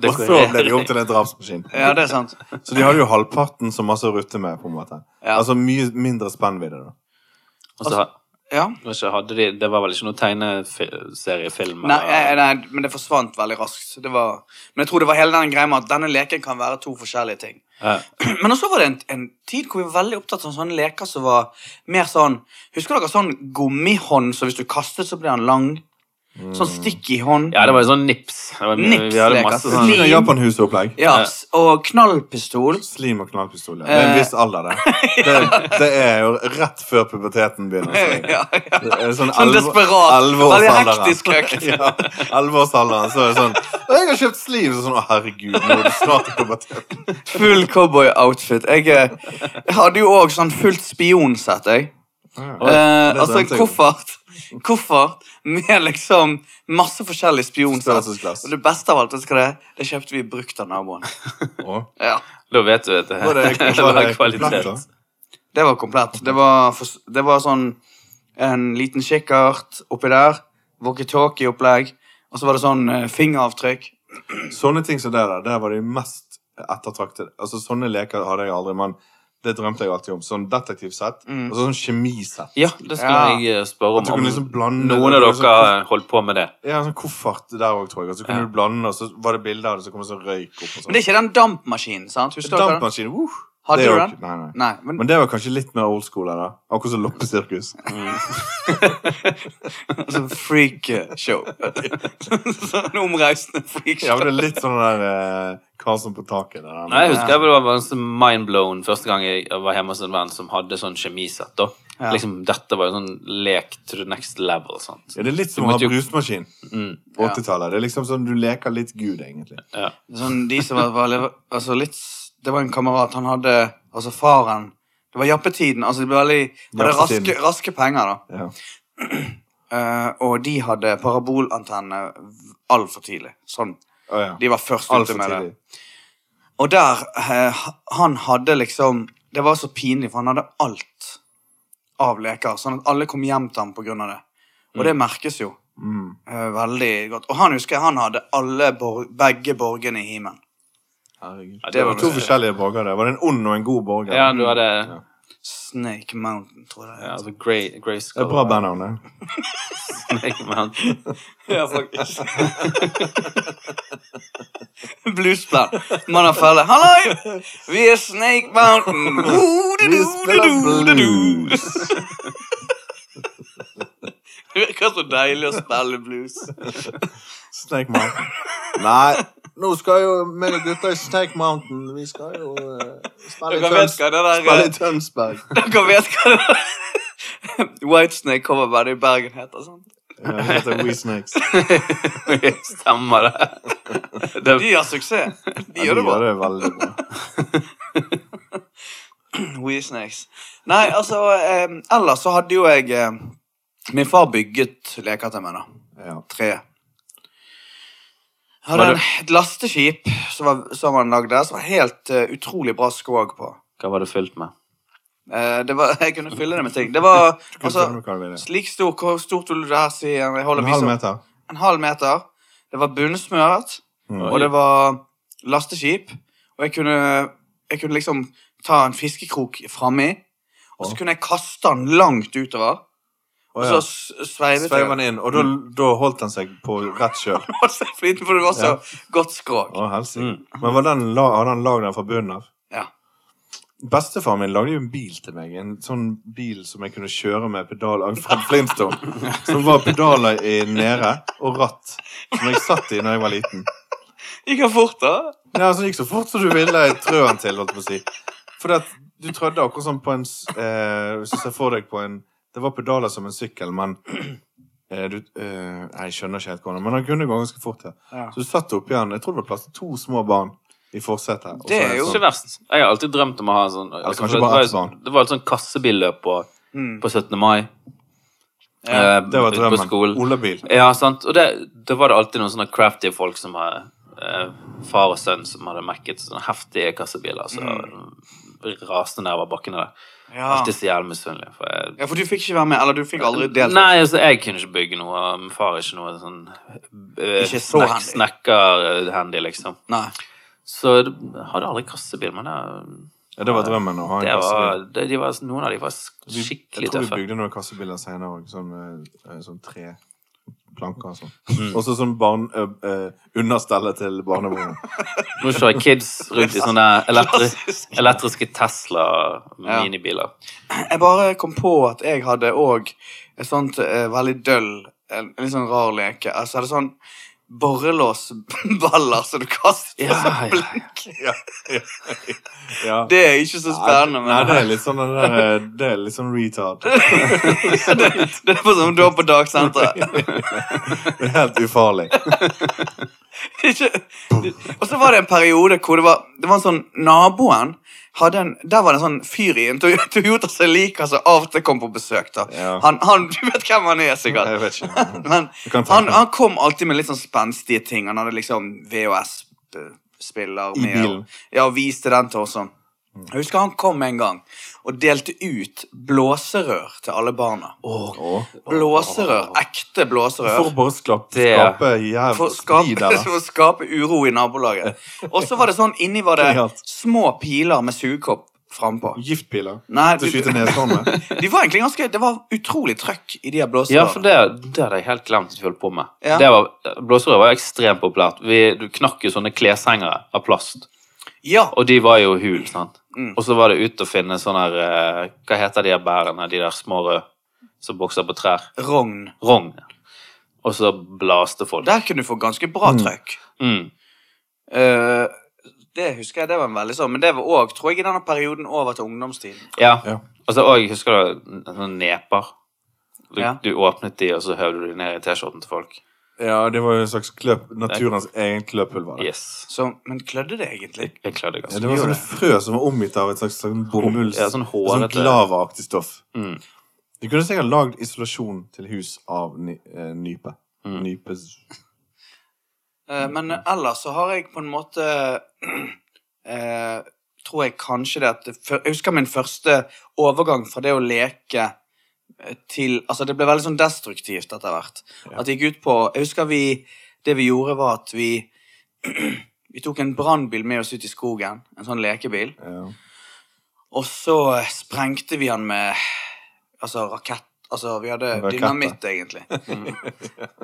[SPEAKER 1] Og så ble de om til en drapsmaskin.
[SPEAKER 2] Ja, det er sant.
[SPEAKER 1] Så de hadde jo halvparten så masse å rutte med, på en måte.
[SPEAKER 2] Ja.
[SPEAKER 1] Altså mye mindre spennvidde, da.
[SPEAKER 3] Og så
[SPEAKER 2] Ja.
[SPEAKER 3] vet ikke, hadde de, det var vel ikke noen tegneseriefilm?
[SPEAKER 2] Nei, eh, nei, men det forsvant veldig raskt. Det var, men jeg tror det var hele den greia med at denne leken kan være to forskjellige ting.
[SPEAKER 3] Ja.
[SPEAKER 2] Men også var det en, en tid hvor vi var veldig opptatt av sånne leker som var mer sånn Husker dere sånn gummihånd, så hvis du kastet, så ble han lang? Sånn stikk i hånd.
[SPEAKER 3] Ja, det var jo sånn nips. Det var,
[SPEAKER 2] Nips,
[SPEAKER 3] vi hadde
[SPEAKER 2] leker.
[SPEAKER 3] masse sånn
[SPEAKER 1] Slim og Japanhusopplegg.
[SPEAKER 2] Ja, Eh. s- og knallpistol.
[SPEAKER 1] Slim og knallpistol, ja. Det er en viss alder, det. Det, det er jo rett før puberteten begynner. Så.
[SPEAKER 2] Ja, ja.
[SPEAKER 1] Det er
[SPEAKER 2] Sånn
[SPEAKER 1] Sånn, elve-
[SPEAKER 2] desperat. Veldig
[SPEAKER 1] elleveårsalderen.
[SPEAKER 2] hektisk økt.
[SPEAKER 1] Ja, elleveårsalderen. Så er det sånn «Å, Jeg har kjøpt slim! Så sånn, Å, herregud, nå er det snart puberteten.
[SPEAKER 2] Full cowboy-outfit. Jeg, eh, jeg hadde jo òg sånn fullt spionsett, jeg.
[SPEAKER 1] Ja.
[SPEAKER 2] Eh, altså
[SPEAKER 1] drømte jeg om.
[SPEAKER 2] koffert Koffert med liksom masse forskjellige spionsett.
[SPEAKER 1] Størrelsesglass.
[SPEAKER 2] Og det beste av alt, vet du hva det er? Det kjøpte vi brukt av naboen.
[SPEAKER 1] Å,
[SPEAKER 2] Ja,
[SPEAKER 3] Da vet du at det,
[SPEAKER 1] Var det,
[SPEAKER 3] det
[SPEAKER 1] var det
[SPEAKER 3] var
[SPEAKER 1] komplett,
[SPEAKER 3] kvalitet.
[SPEAKER 1] da?
[SPEAKER 2] Det var komplett. Det var, for, det var sånn en liten kikkert oppi der, walkietalkie-opplegg, og så var det sånn eh, fingeravtrykk.
[SPEAKER 1] Sånne ting som det der, der var de mest ettertraktet. Altså, sånne leker hadde jeg aldri, men Det drømte jeg alltid om. Sånn detektivsett
[SPEAKER 2] Mm.
[SPEAKER 1] og sånn kjemisett.
[SPEAKER 3] Ja, det skulle
[SPEAKER 2] Ja.
[SPEAKER 3] jeg eh, spørre
[SPEAKER 1] At
[SPEAKER 3] om.
[SPEAKER 1] du kunne
[SPEAKER 3] om
[SPEAKER 1] liksom blande
[SPEAKER 3] noen av
[SPEAKER 1] det var
[SPEAKER 3] dere eh,
[SPEAKER 1] sånn-
[SPEAKER 3] holdt på med det.
[SPEAKER 1] Ja, en sånn koffert der òg, tror jeg. Og så kunne
[SPEAKER 3] Ja.
[SPEAKER 1] du blande, og så var det bilde av det, så kom det sånn røyk opp
[SPEAKER 2] Men
[SPEAKER 1] og
[SPEAKER 2] det
[SPEAKER 1] sånn.
[SPEAKER 2] er ikke den dampmaskinen, sant? Husker dere den?
[SPEAKER 1] Dampmaskin. Uh,
[SPEAKER 2] Hadde
[SPEAKER 1] det
[SPEAKER 2] du
[SPEAKER 1] er jo-
[SPEAKER 2] den?
[SPEAKER 1] Nei, nei.
[SPEAKER 2] Nei, men
[SPEAKER 1] Men det var kanskje litt mer old school her, da. Akkurat som loppesirkus.
[SPEAKER 2] altså, freakshow. sånn omreisende
[SPEAKER 1] Ja,
[SPEAKER 2] freakshow.
[SPEAKER 1] men det er litt sånn den der eh, Karlsson på taket. Der, den.
[SPEAKER 3] Nei, jeg husker jeg var- var så mindblown første gang jeg var hjemme hos en venn som hadde sånn kjemisett. da.
[SPEAKER 2] Ja.
[SPEAKER 3] Liksom, Dette var jo sånn lek to the next level. sånn. sant?
[SPEAKER 1] Ja, det er litt som
[SPEAKER 3] Du
[SPEAKER 1] å ha
[SPEAKER 3] måtte jo-
[SPEAKER 1] brusmaskin.
[SPEAKER 3] Mm.
[SPEAKER 1] på 80-tallet. Det er liksom sånn du leker litt Gud, egentlig.
[SPEAKER 3] Ja.
[SPEAKER 2] Sånn, de som var, var altså, litt, s- Det var en kamerat, han hadde Altså, faren Det var jappetiden. Altså, det ble veldig Hadde raske,
[SPEAKER 1] Jappetiden.
[SPEAKER 2] raske penger, da.
[SPEAKER 1] Ja.
[SPEAKER 2] Eh, og de hadde parabolantenne altfor tidlig. Sånn.
[SPEAKER 1] Å, ja.
[SPEAKER 2] De var først ute
[SPEAKER 1] Altfor
[SPEAKER 2] med
[SPEAKER 1] tidlig.
[SPEAKER 2] det. Og der eh, ha- Han hadde liksom Det var så pinlig, for han hadde alt av leker. Sånn at alle kom hjem til ham på grunn av det. Og det merkes jo
[SPEAKER 1] Mm.
[SPEAKER 2] eh, veldig godt. Og han husker jeg, han hadde alle bor begge borgene i himmelen.
[SPEAKER 1] Herregud.
[SPEAKER 3] Ja, det
[SPEAKER 1] det,
[SPEAKER 3] var
[SPEAKER 1] var to
[SPEAKER 3] det.
[SPEAKER 1] forskjellige borger der. Var det en ond og en god borger?
[SPEAKER 3] ja, du hadde
[SPEAKER 2] Snake Mountain, tror jeg.
[SPEAKER 3] ja, altså, Grey, Grey
[SPEAKER 1] Det er bra bandnavn, det.
[SPEAKER 3] Snake Mountain.
[SPEAKER 2] Ja, faktisk. Bluesplan. Mannafelle. Halloi! Vi er Snake Mountain.
[SPEAKER 1] Vi spiller
[SPEAKER 2] Du-du-du-du-du-du.
[SPEAKER 1] blues.
[SPEAKER 2] Det virker så deilig å spille blues.
[SPEAKER 1] Snake Mountain. Nei, nå skal jo meg og gutta i Snake Mountain Vi skal jo eh, spille, i
[SPEAKER 2] Dere vet
[SPEAKER 1] Tøns
[SPEAKER 2] hva det der
[SPEAKER 1] spille i Tønsberg.
[SPEAKER 2] Dere vet hva det der Whitesnake-coverbandet i Bergen heter. sant?
[SPEAKER 1] Ja, det heter We Snakes.
[SPEAKER 3] Stemmer det. det
[SPEAKER 2] De har suksess. De
[SPEAKER 1] Ja,
[SPEAKER 2] gjør det bra.
[SPEAKER 1] gjør det veldig bra.
[SPEAKER 2] We Snakes. Nei, altså eh, Ellers så hadde jo jeg eh, Min far bygget leker til meg, da.
[SPEAKER 1] Ja.
[SPEAKER 2] tre. Jeg Hadde
[SPEAKER 3] Var
[SPEAKER 2] en, et lasteskip som, var, som han lagde, som var helt eh, utrolig bra skog på.
[SPEAKER 3] Hva var det fylt med?
[SPEAKER 2] Eh, det var, jeg kunne fylle det med ting. Det var
[SPEAKER 1] Skal vi
[SPEAKER 2] altså,
[SPEAKER 1] se hva vi vil.
[SPEAKER 2] slik stor, Hvor stort vil du det her si? Jeg holder
[SPEAKER 1] En halv
[SPEAKER 2] vise-
[SPEAKER 1] meter.
[SPEAKER 2] En halv meter. Det var bunnsmøret,
[SPEAKER 1] Mm.
[SPEAKER 2] og det var lasteskip. Og jeg kunne, jeg kunne liksom ta en fiskekrok framme i, og så
[SPEAKER 1] Ja.
[SPEAKER 2] kunne jeg kaste den langt utover. Og
[SPEAKER 1] Å,
[SPEAKER 2] så
[SPEAKER 1] ja.
[SPEAKER 2] s- sveivet jeg Mm.
[SPEAKER 1] Sveiv
[SPEAKER 2] den.
[SPEAKER 1] han inn, og da, da holdt han seg på rett kjøl.
[SPEAKER 2] Og så flytende, for det var så
[SPEAKER 1] Ja.
[SPEAKER 2] godt skrog.
[SPEAKER 1] Å, helsike.
[SPEAKER 3] Mm.
[SPEAKER 1] Men var den, la- hadde han lagd den fra bunnen av?
[SPEAKER 2] Ja.
[SPEAKER 1] Bestefaren min lagde jo en bil til meg. En sånn bil som jeg kunne kjøre med pedaler fra Flintstone. Som var pedaler i nede og ratt. Som jeg satt i når jeg var liten.
[SPEAKER 2] Gikk han fort, da?
[SPEAKER 1] Ja, altså, det gikk så fort som du ville trø den til, holdt jeg på å si. For at du trødde akkurat sånn på en s- eh, Hvis du ser for deg på en Det var pedaler som en sykkel, men eh, du, eh, nei, Jeg skjønner ikke helt hvordan, men han kunne gå ganske fort. Ja.
[SPEAKER 2] Ja.
[SPEAKER 1] Så du satt oppi han. Jeg tror det var plass til to små barn i forsetet. og så
[SPEAKER 2] Det er
[SPEAKER 1] en
[SPEAKER 2] jo-
[SPEAKER 1] sånn-
[SPEAKER 3] Ikke verst. Jeg har alltid drømt om å ha en sånn
[SPEAKER 1] Altså,
[SPEAKER 3] for
[SPEAKER 1] kanskje
[SPEAKER 3] det,
[SPEAKER 1] bare
[SPEAKER 3] var,
[SPEAKER 1] ett barn.
[SPEAKER 3] jo- det var et sånn kassebilløp på,
[SPEAKER 2] Mm.
[SPEAKER 3] på 17. mai.
[SPEAKER 2] Ja,
[SPEAKER 3] eh,
[SPEAKER 1] Det var
[SPEAKER 3] ute På
[SPEAKER 1] drømmen.
[SPEAKER 3] skolen.
[SPEAKER 1] Olabil.
[SPEAKER 3] Ja, sant. Og det, da var det alltid noen sånne crafty folk som hadde eh, Far og sønn som hadde mekket sånne heftige kassebiler. Så raste nedover bakkene der.
[SPEAKER 2] Ja.
[SPEAKER 3] Alltid så jævlig misunnelig. For jeg,
[SPEAKER 2] ja, for du fikk ikke være med, eller du fikk Ah. aldri delta.
[SPEAKER 3] Nei, altså, jeg kunne ikke bygge noe. og Min far er ikke noe sånn eh,
[SPEAKER 2] Ikke så
[SPEAKER 3] snek-
[SPEAKER 2] handy.
[SPEAKER 3] snekker-handy, liksom.
[SPEAKER 2] Nei.
[SPEAKER 3] Så jeg hadde aldri kassebil, men det
[SPEAKER 1] Ja, det var drømmen å ha en
[SPEAKER 3] Det
[SPEAKER 1] kassebil.
[SPEAKER 3] var, det, de var, noen av de var sk-
[SPEAKER 1] Vi-
[SPEAKER 3] skikkelig
[SPEAKER 1] Jeg tror vi
[SPEAKER 3] tøffe.
[SPEAKER 1] bygde noen kassebiler senere òg. Sånn, eh, eh, sånn tre planker og sånn.
[SPEAKER 3] Mm.
[SPEAKER 1] Også sånn barn, eh, eh, understellet til barnevognen.
[SPEAKER 3] Nå kjører kids rundt i sånne elektri elektriske Tesla
[SPEAKER 2] Ja.
[SPEAKER 3] minibiler.
[SPEAKER 2] Jeg bare kom på at jeg hadde òg et sånt eh, veldig døll, en, en litt sånn rar leke. Altså, er det sånn borrelåsballer som du kaster
[SPEAKER 3] Ja,
[SPEAKER 2] som
[SPEAKER 3] ja, ja.
[SPEAKER 2] blink?
[SPEAKER 1] Ja.
[SPEAKER 2] Det er ikke så spennende,
[SPEAKER 1] Nei,
[SPEAKER 2] men
[SPEAKER 1] det er litt sånn den der, eh, Det er litt sånn retard.
[SPEAKER 2] det, det er på som da på dagsenteret.
[SPEAKER 1] Det er helt ufarlig.
[SPEAKER 2] Ikke- Og så var det en periode hvor det var, det var en sånn Naboen hadde en Der var det en sånn fyr i en Toy- Toyota Celica som av og til kom på besøk. da
[SPEAKER 1] Ja.
[SPEAKER 2] han, han, Du vet hvem han er, sikkert.
[SPEAKER 1] Jeg vet ikke.
[SPEAKER 2] Men
[SPEAKER 1] Du kan ta
[SPEAKER 2] han,
[SPEAKER 1] den.
[SPEAKER 2] han kom alltid med litt sånn spenstige ting. Han hadde liksom VHS-spiller
[SPEAKER 1] I
[SPEAKER 2] med.
[SPEAKER 1] bilen. Mm.
[SPEAKER 2] og- Ja, og viste den til oss. og- Jeg husker han kom en gang og delte ut blåserør til alle barna.
[SPEAKER 1] Å.
[SPEAKER 2] Blåserør. Ekte
[SPEAKER 1] For å
[SPEAKER 2] blåserør.
[SPEAKER 1] bare sklapp,
[SPEAKER 3] Det-
[SPEAKER 1] skape
[SPEAKER 2] For å
[SPEAKER 1] jævlig splid
[SPEAKER 2] skape,
[SPEAKER 1] der.
[SPEAKER 2] for å skape uro i nabolaget. Og så var det sånn, inni var det
[SPEAKER 1] Genialt.
[SPEAKER 2] små piler med sugekopp frampå.
[SPEAKER 1] Giftpiler
[SPEAKER 2] Nei,
[SPEAKER 1] til å
[SPEAKER 2] de,
[SPEAKER 1] skyte sånn, neshorn med.
[SPEAKER 2] de var egentlig ganske Det var utrolig trøkk i de her blåserne.
[SPEAKER 3] Ja, for det, det hadde jeg helt glemt at vi holdt på med.
[SPEAKER 2] Ja.
[SPEAKER 3] Det var, blåserød var ekstremt populært. Vi, du knakk jo sånne kleshengere av plast,
[SPEAKER 2] Ja,
[SPEAKER 3] og de var jo hul, sant?
[SPEAKER 2] Mm.
[SPEAKER 3] Og så var det ut å finne sånne her, eh, hva heter de her bærene, de der små røde, som bokser på trær?
[SPEAKER 2] Rogn.
[SPEAKER 3] Rogn. Og så blaste folk.
[SPEAKER 2] Der kunne du få ganske bra
[SPEAKER 1] Mm.
[SPEAKER 2] trøkk.
[SPEAKER 3] Mm.
[SPEAKER 2] Eh, det husker jeg, det var en veldig sånn Men det var òg, tror jeg, i denne perioden over til ungdomstiden.
[SPEAKER 3] Ja.
[SPEAKER 1] Ja.
[SPEAKER 3] Altså, og jeg husker det var sånne neper. Du,
[SPEAKER 2] Ja.
[SPEAKER 3] du åpnet de, og så høvde du de ned i T-skjorten til folk.
[SPEAKER 1] Ja, det var jo en slags kløp, naturens egen kløpulver. da.
[SPEAKER 3] Yes.
[SPEAKER 2] Så, men klødde det egentlig?
[SPEAKER 3] Jeg klødde ganske
[SPEAKER 1] Ja, det var sånn-
[SPEAKER 2] Gjør det.
[SPEAKER 1] sånne frø som var omgitt av et slags sånn bomulls...
[SPEAKER 3] Ja, sånn hårete.
[SPEAKER 1] sånn glavaaktig stoff.
[SPEAKER 3] Mm.
[SPEAKER 1] De kunne sikkert lagd isolasjon til hus av ny, eh, nype.
[SPEAKER 3] Mm.
[SPEAKER 1] Nypes
[SPEAKER 2] Eh, men ellers så har jeg på en måte eh, Tror jeg kanskje det at før- Jeg husker min første overgang fra det å leke eh, til Altså, det ble veldig sånn destruktivt etter hvert.
[SPEAKER 1] Ja.
[SPEAKER 2] At det gikk ut på Jeg husker vi Det vi gjorde, var at vi Vi tok en brannbil med oss ut i skogen. En sånn lekebil.
[SPEAKER 1] ja.
[SPEAKER 2] Og så sprengte vi han med Altså rakett Altså vi hadde
[SPEAKER 1] Raketter.
[SPEAKER 2] dynamitt, egentlig. Mm.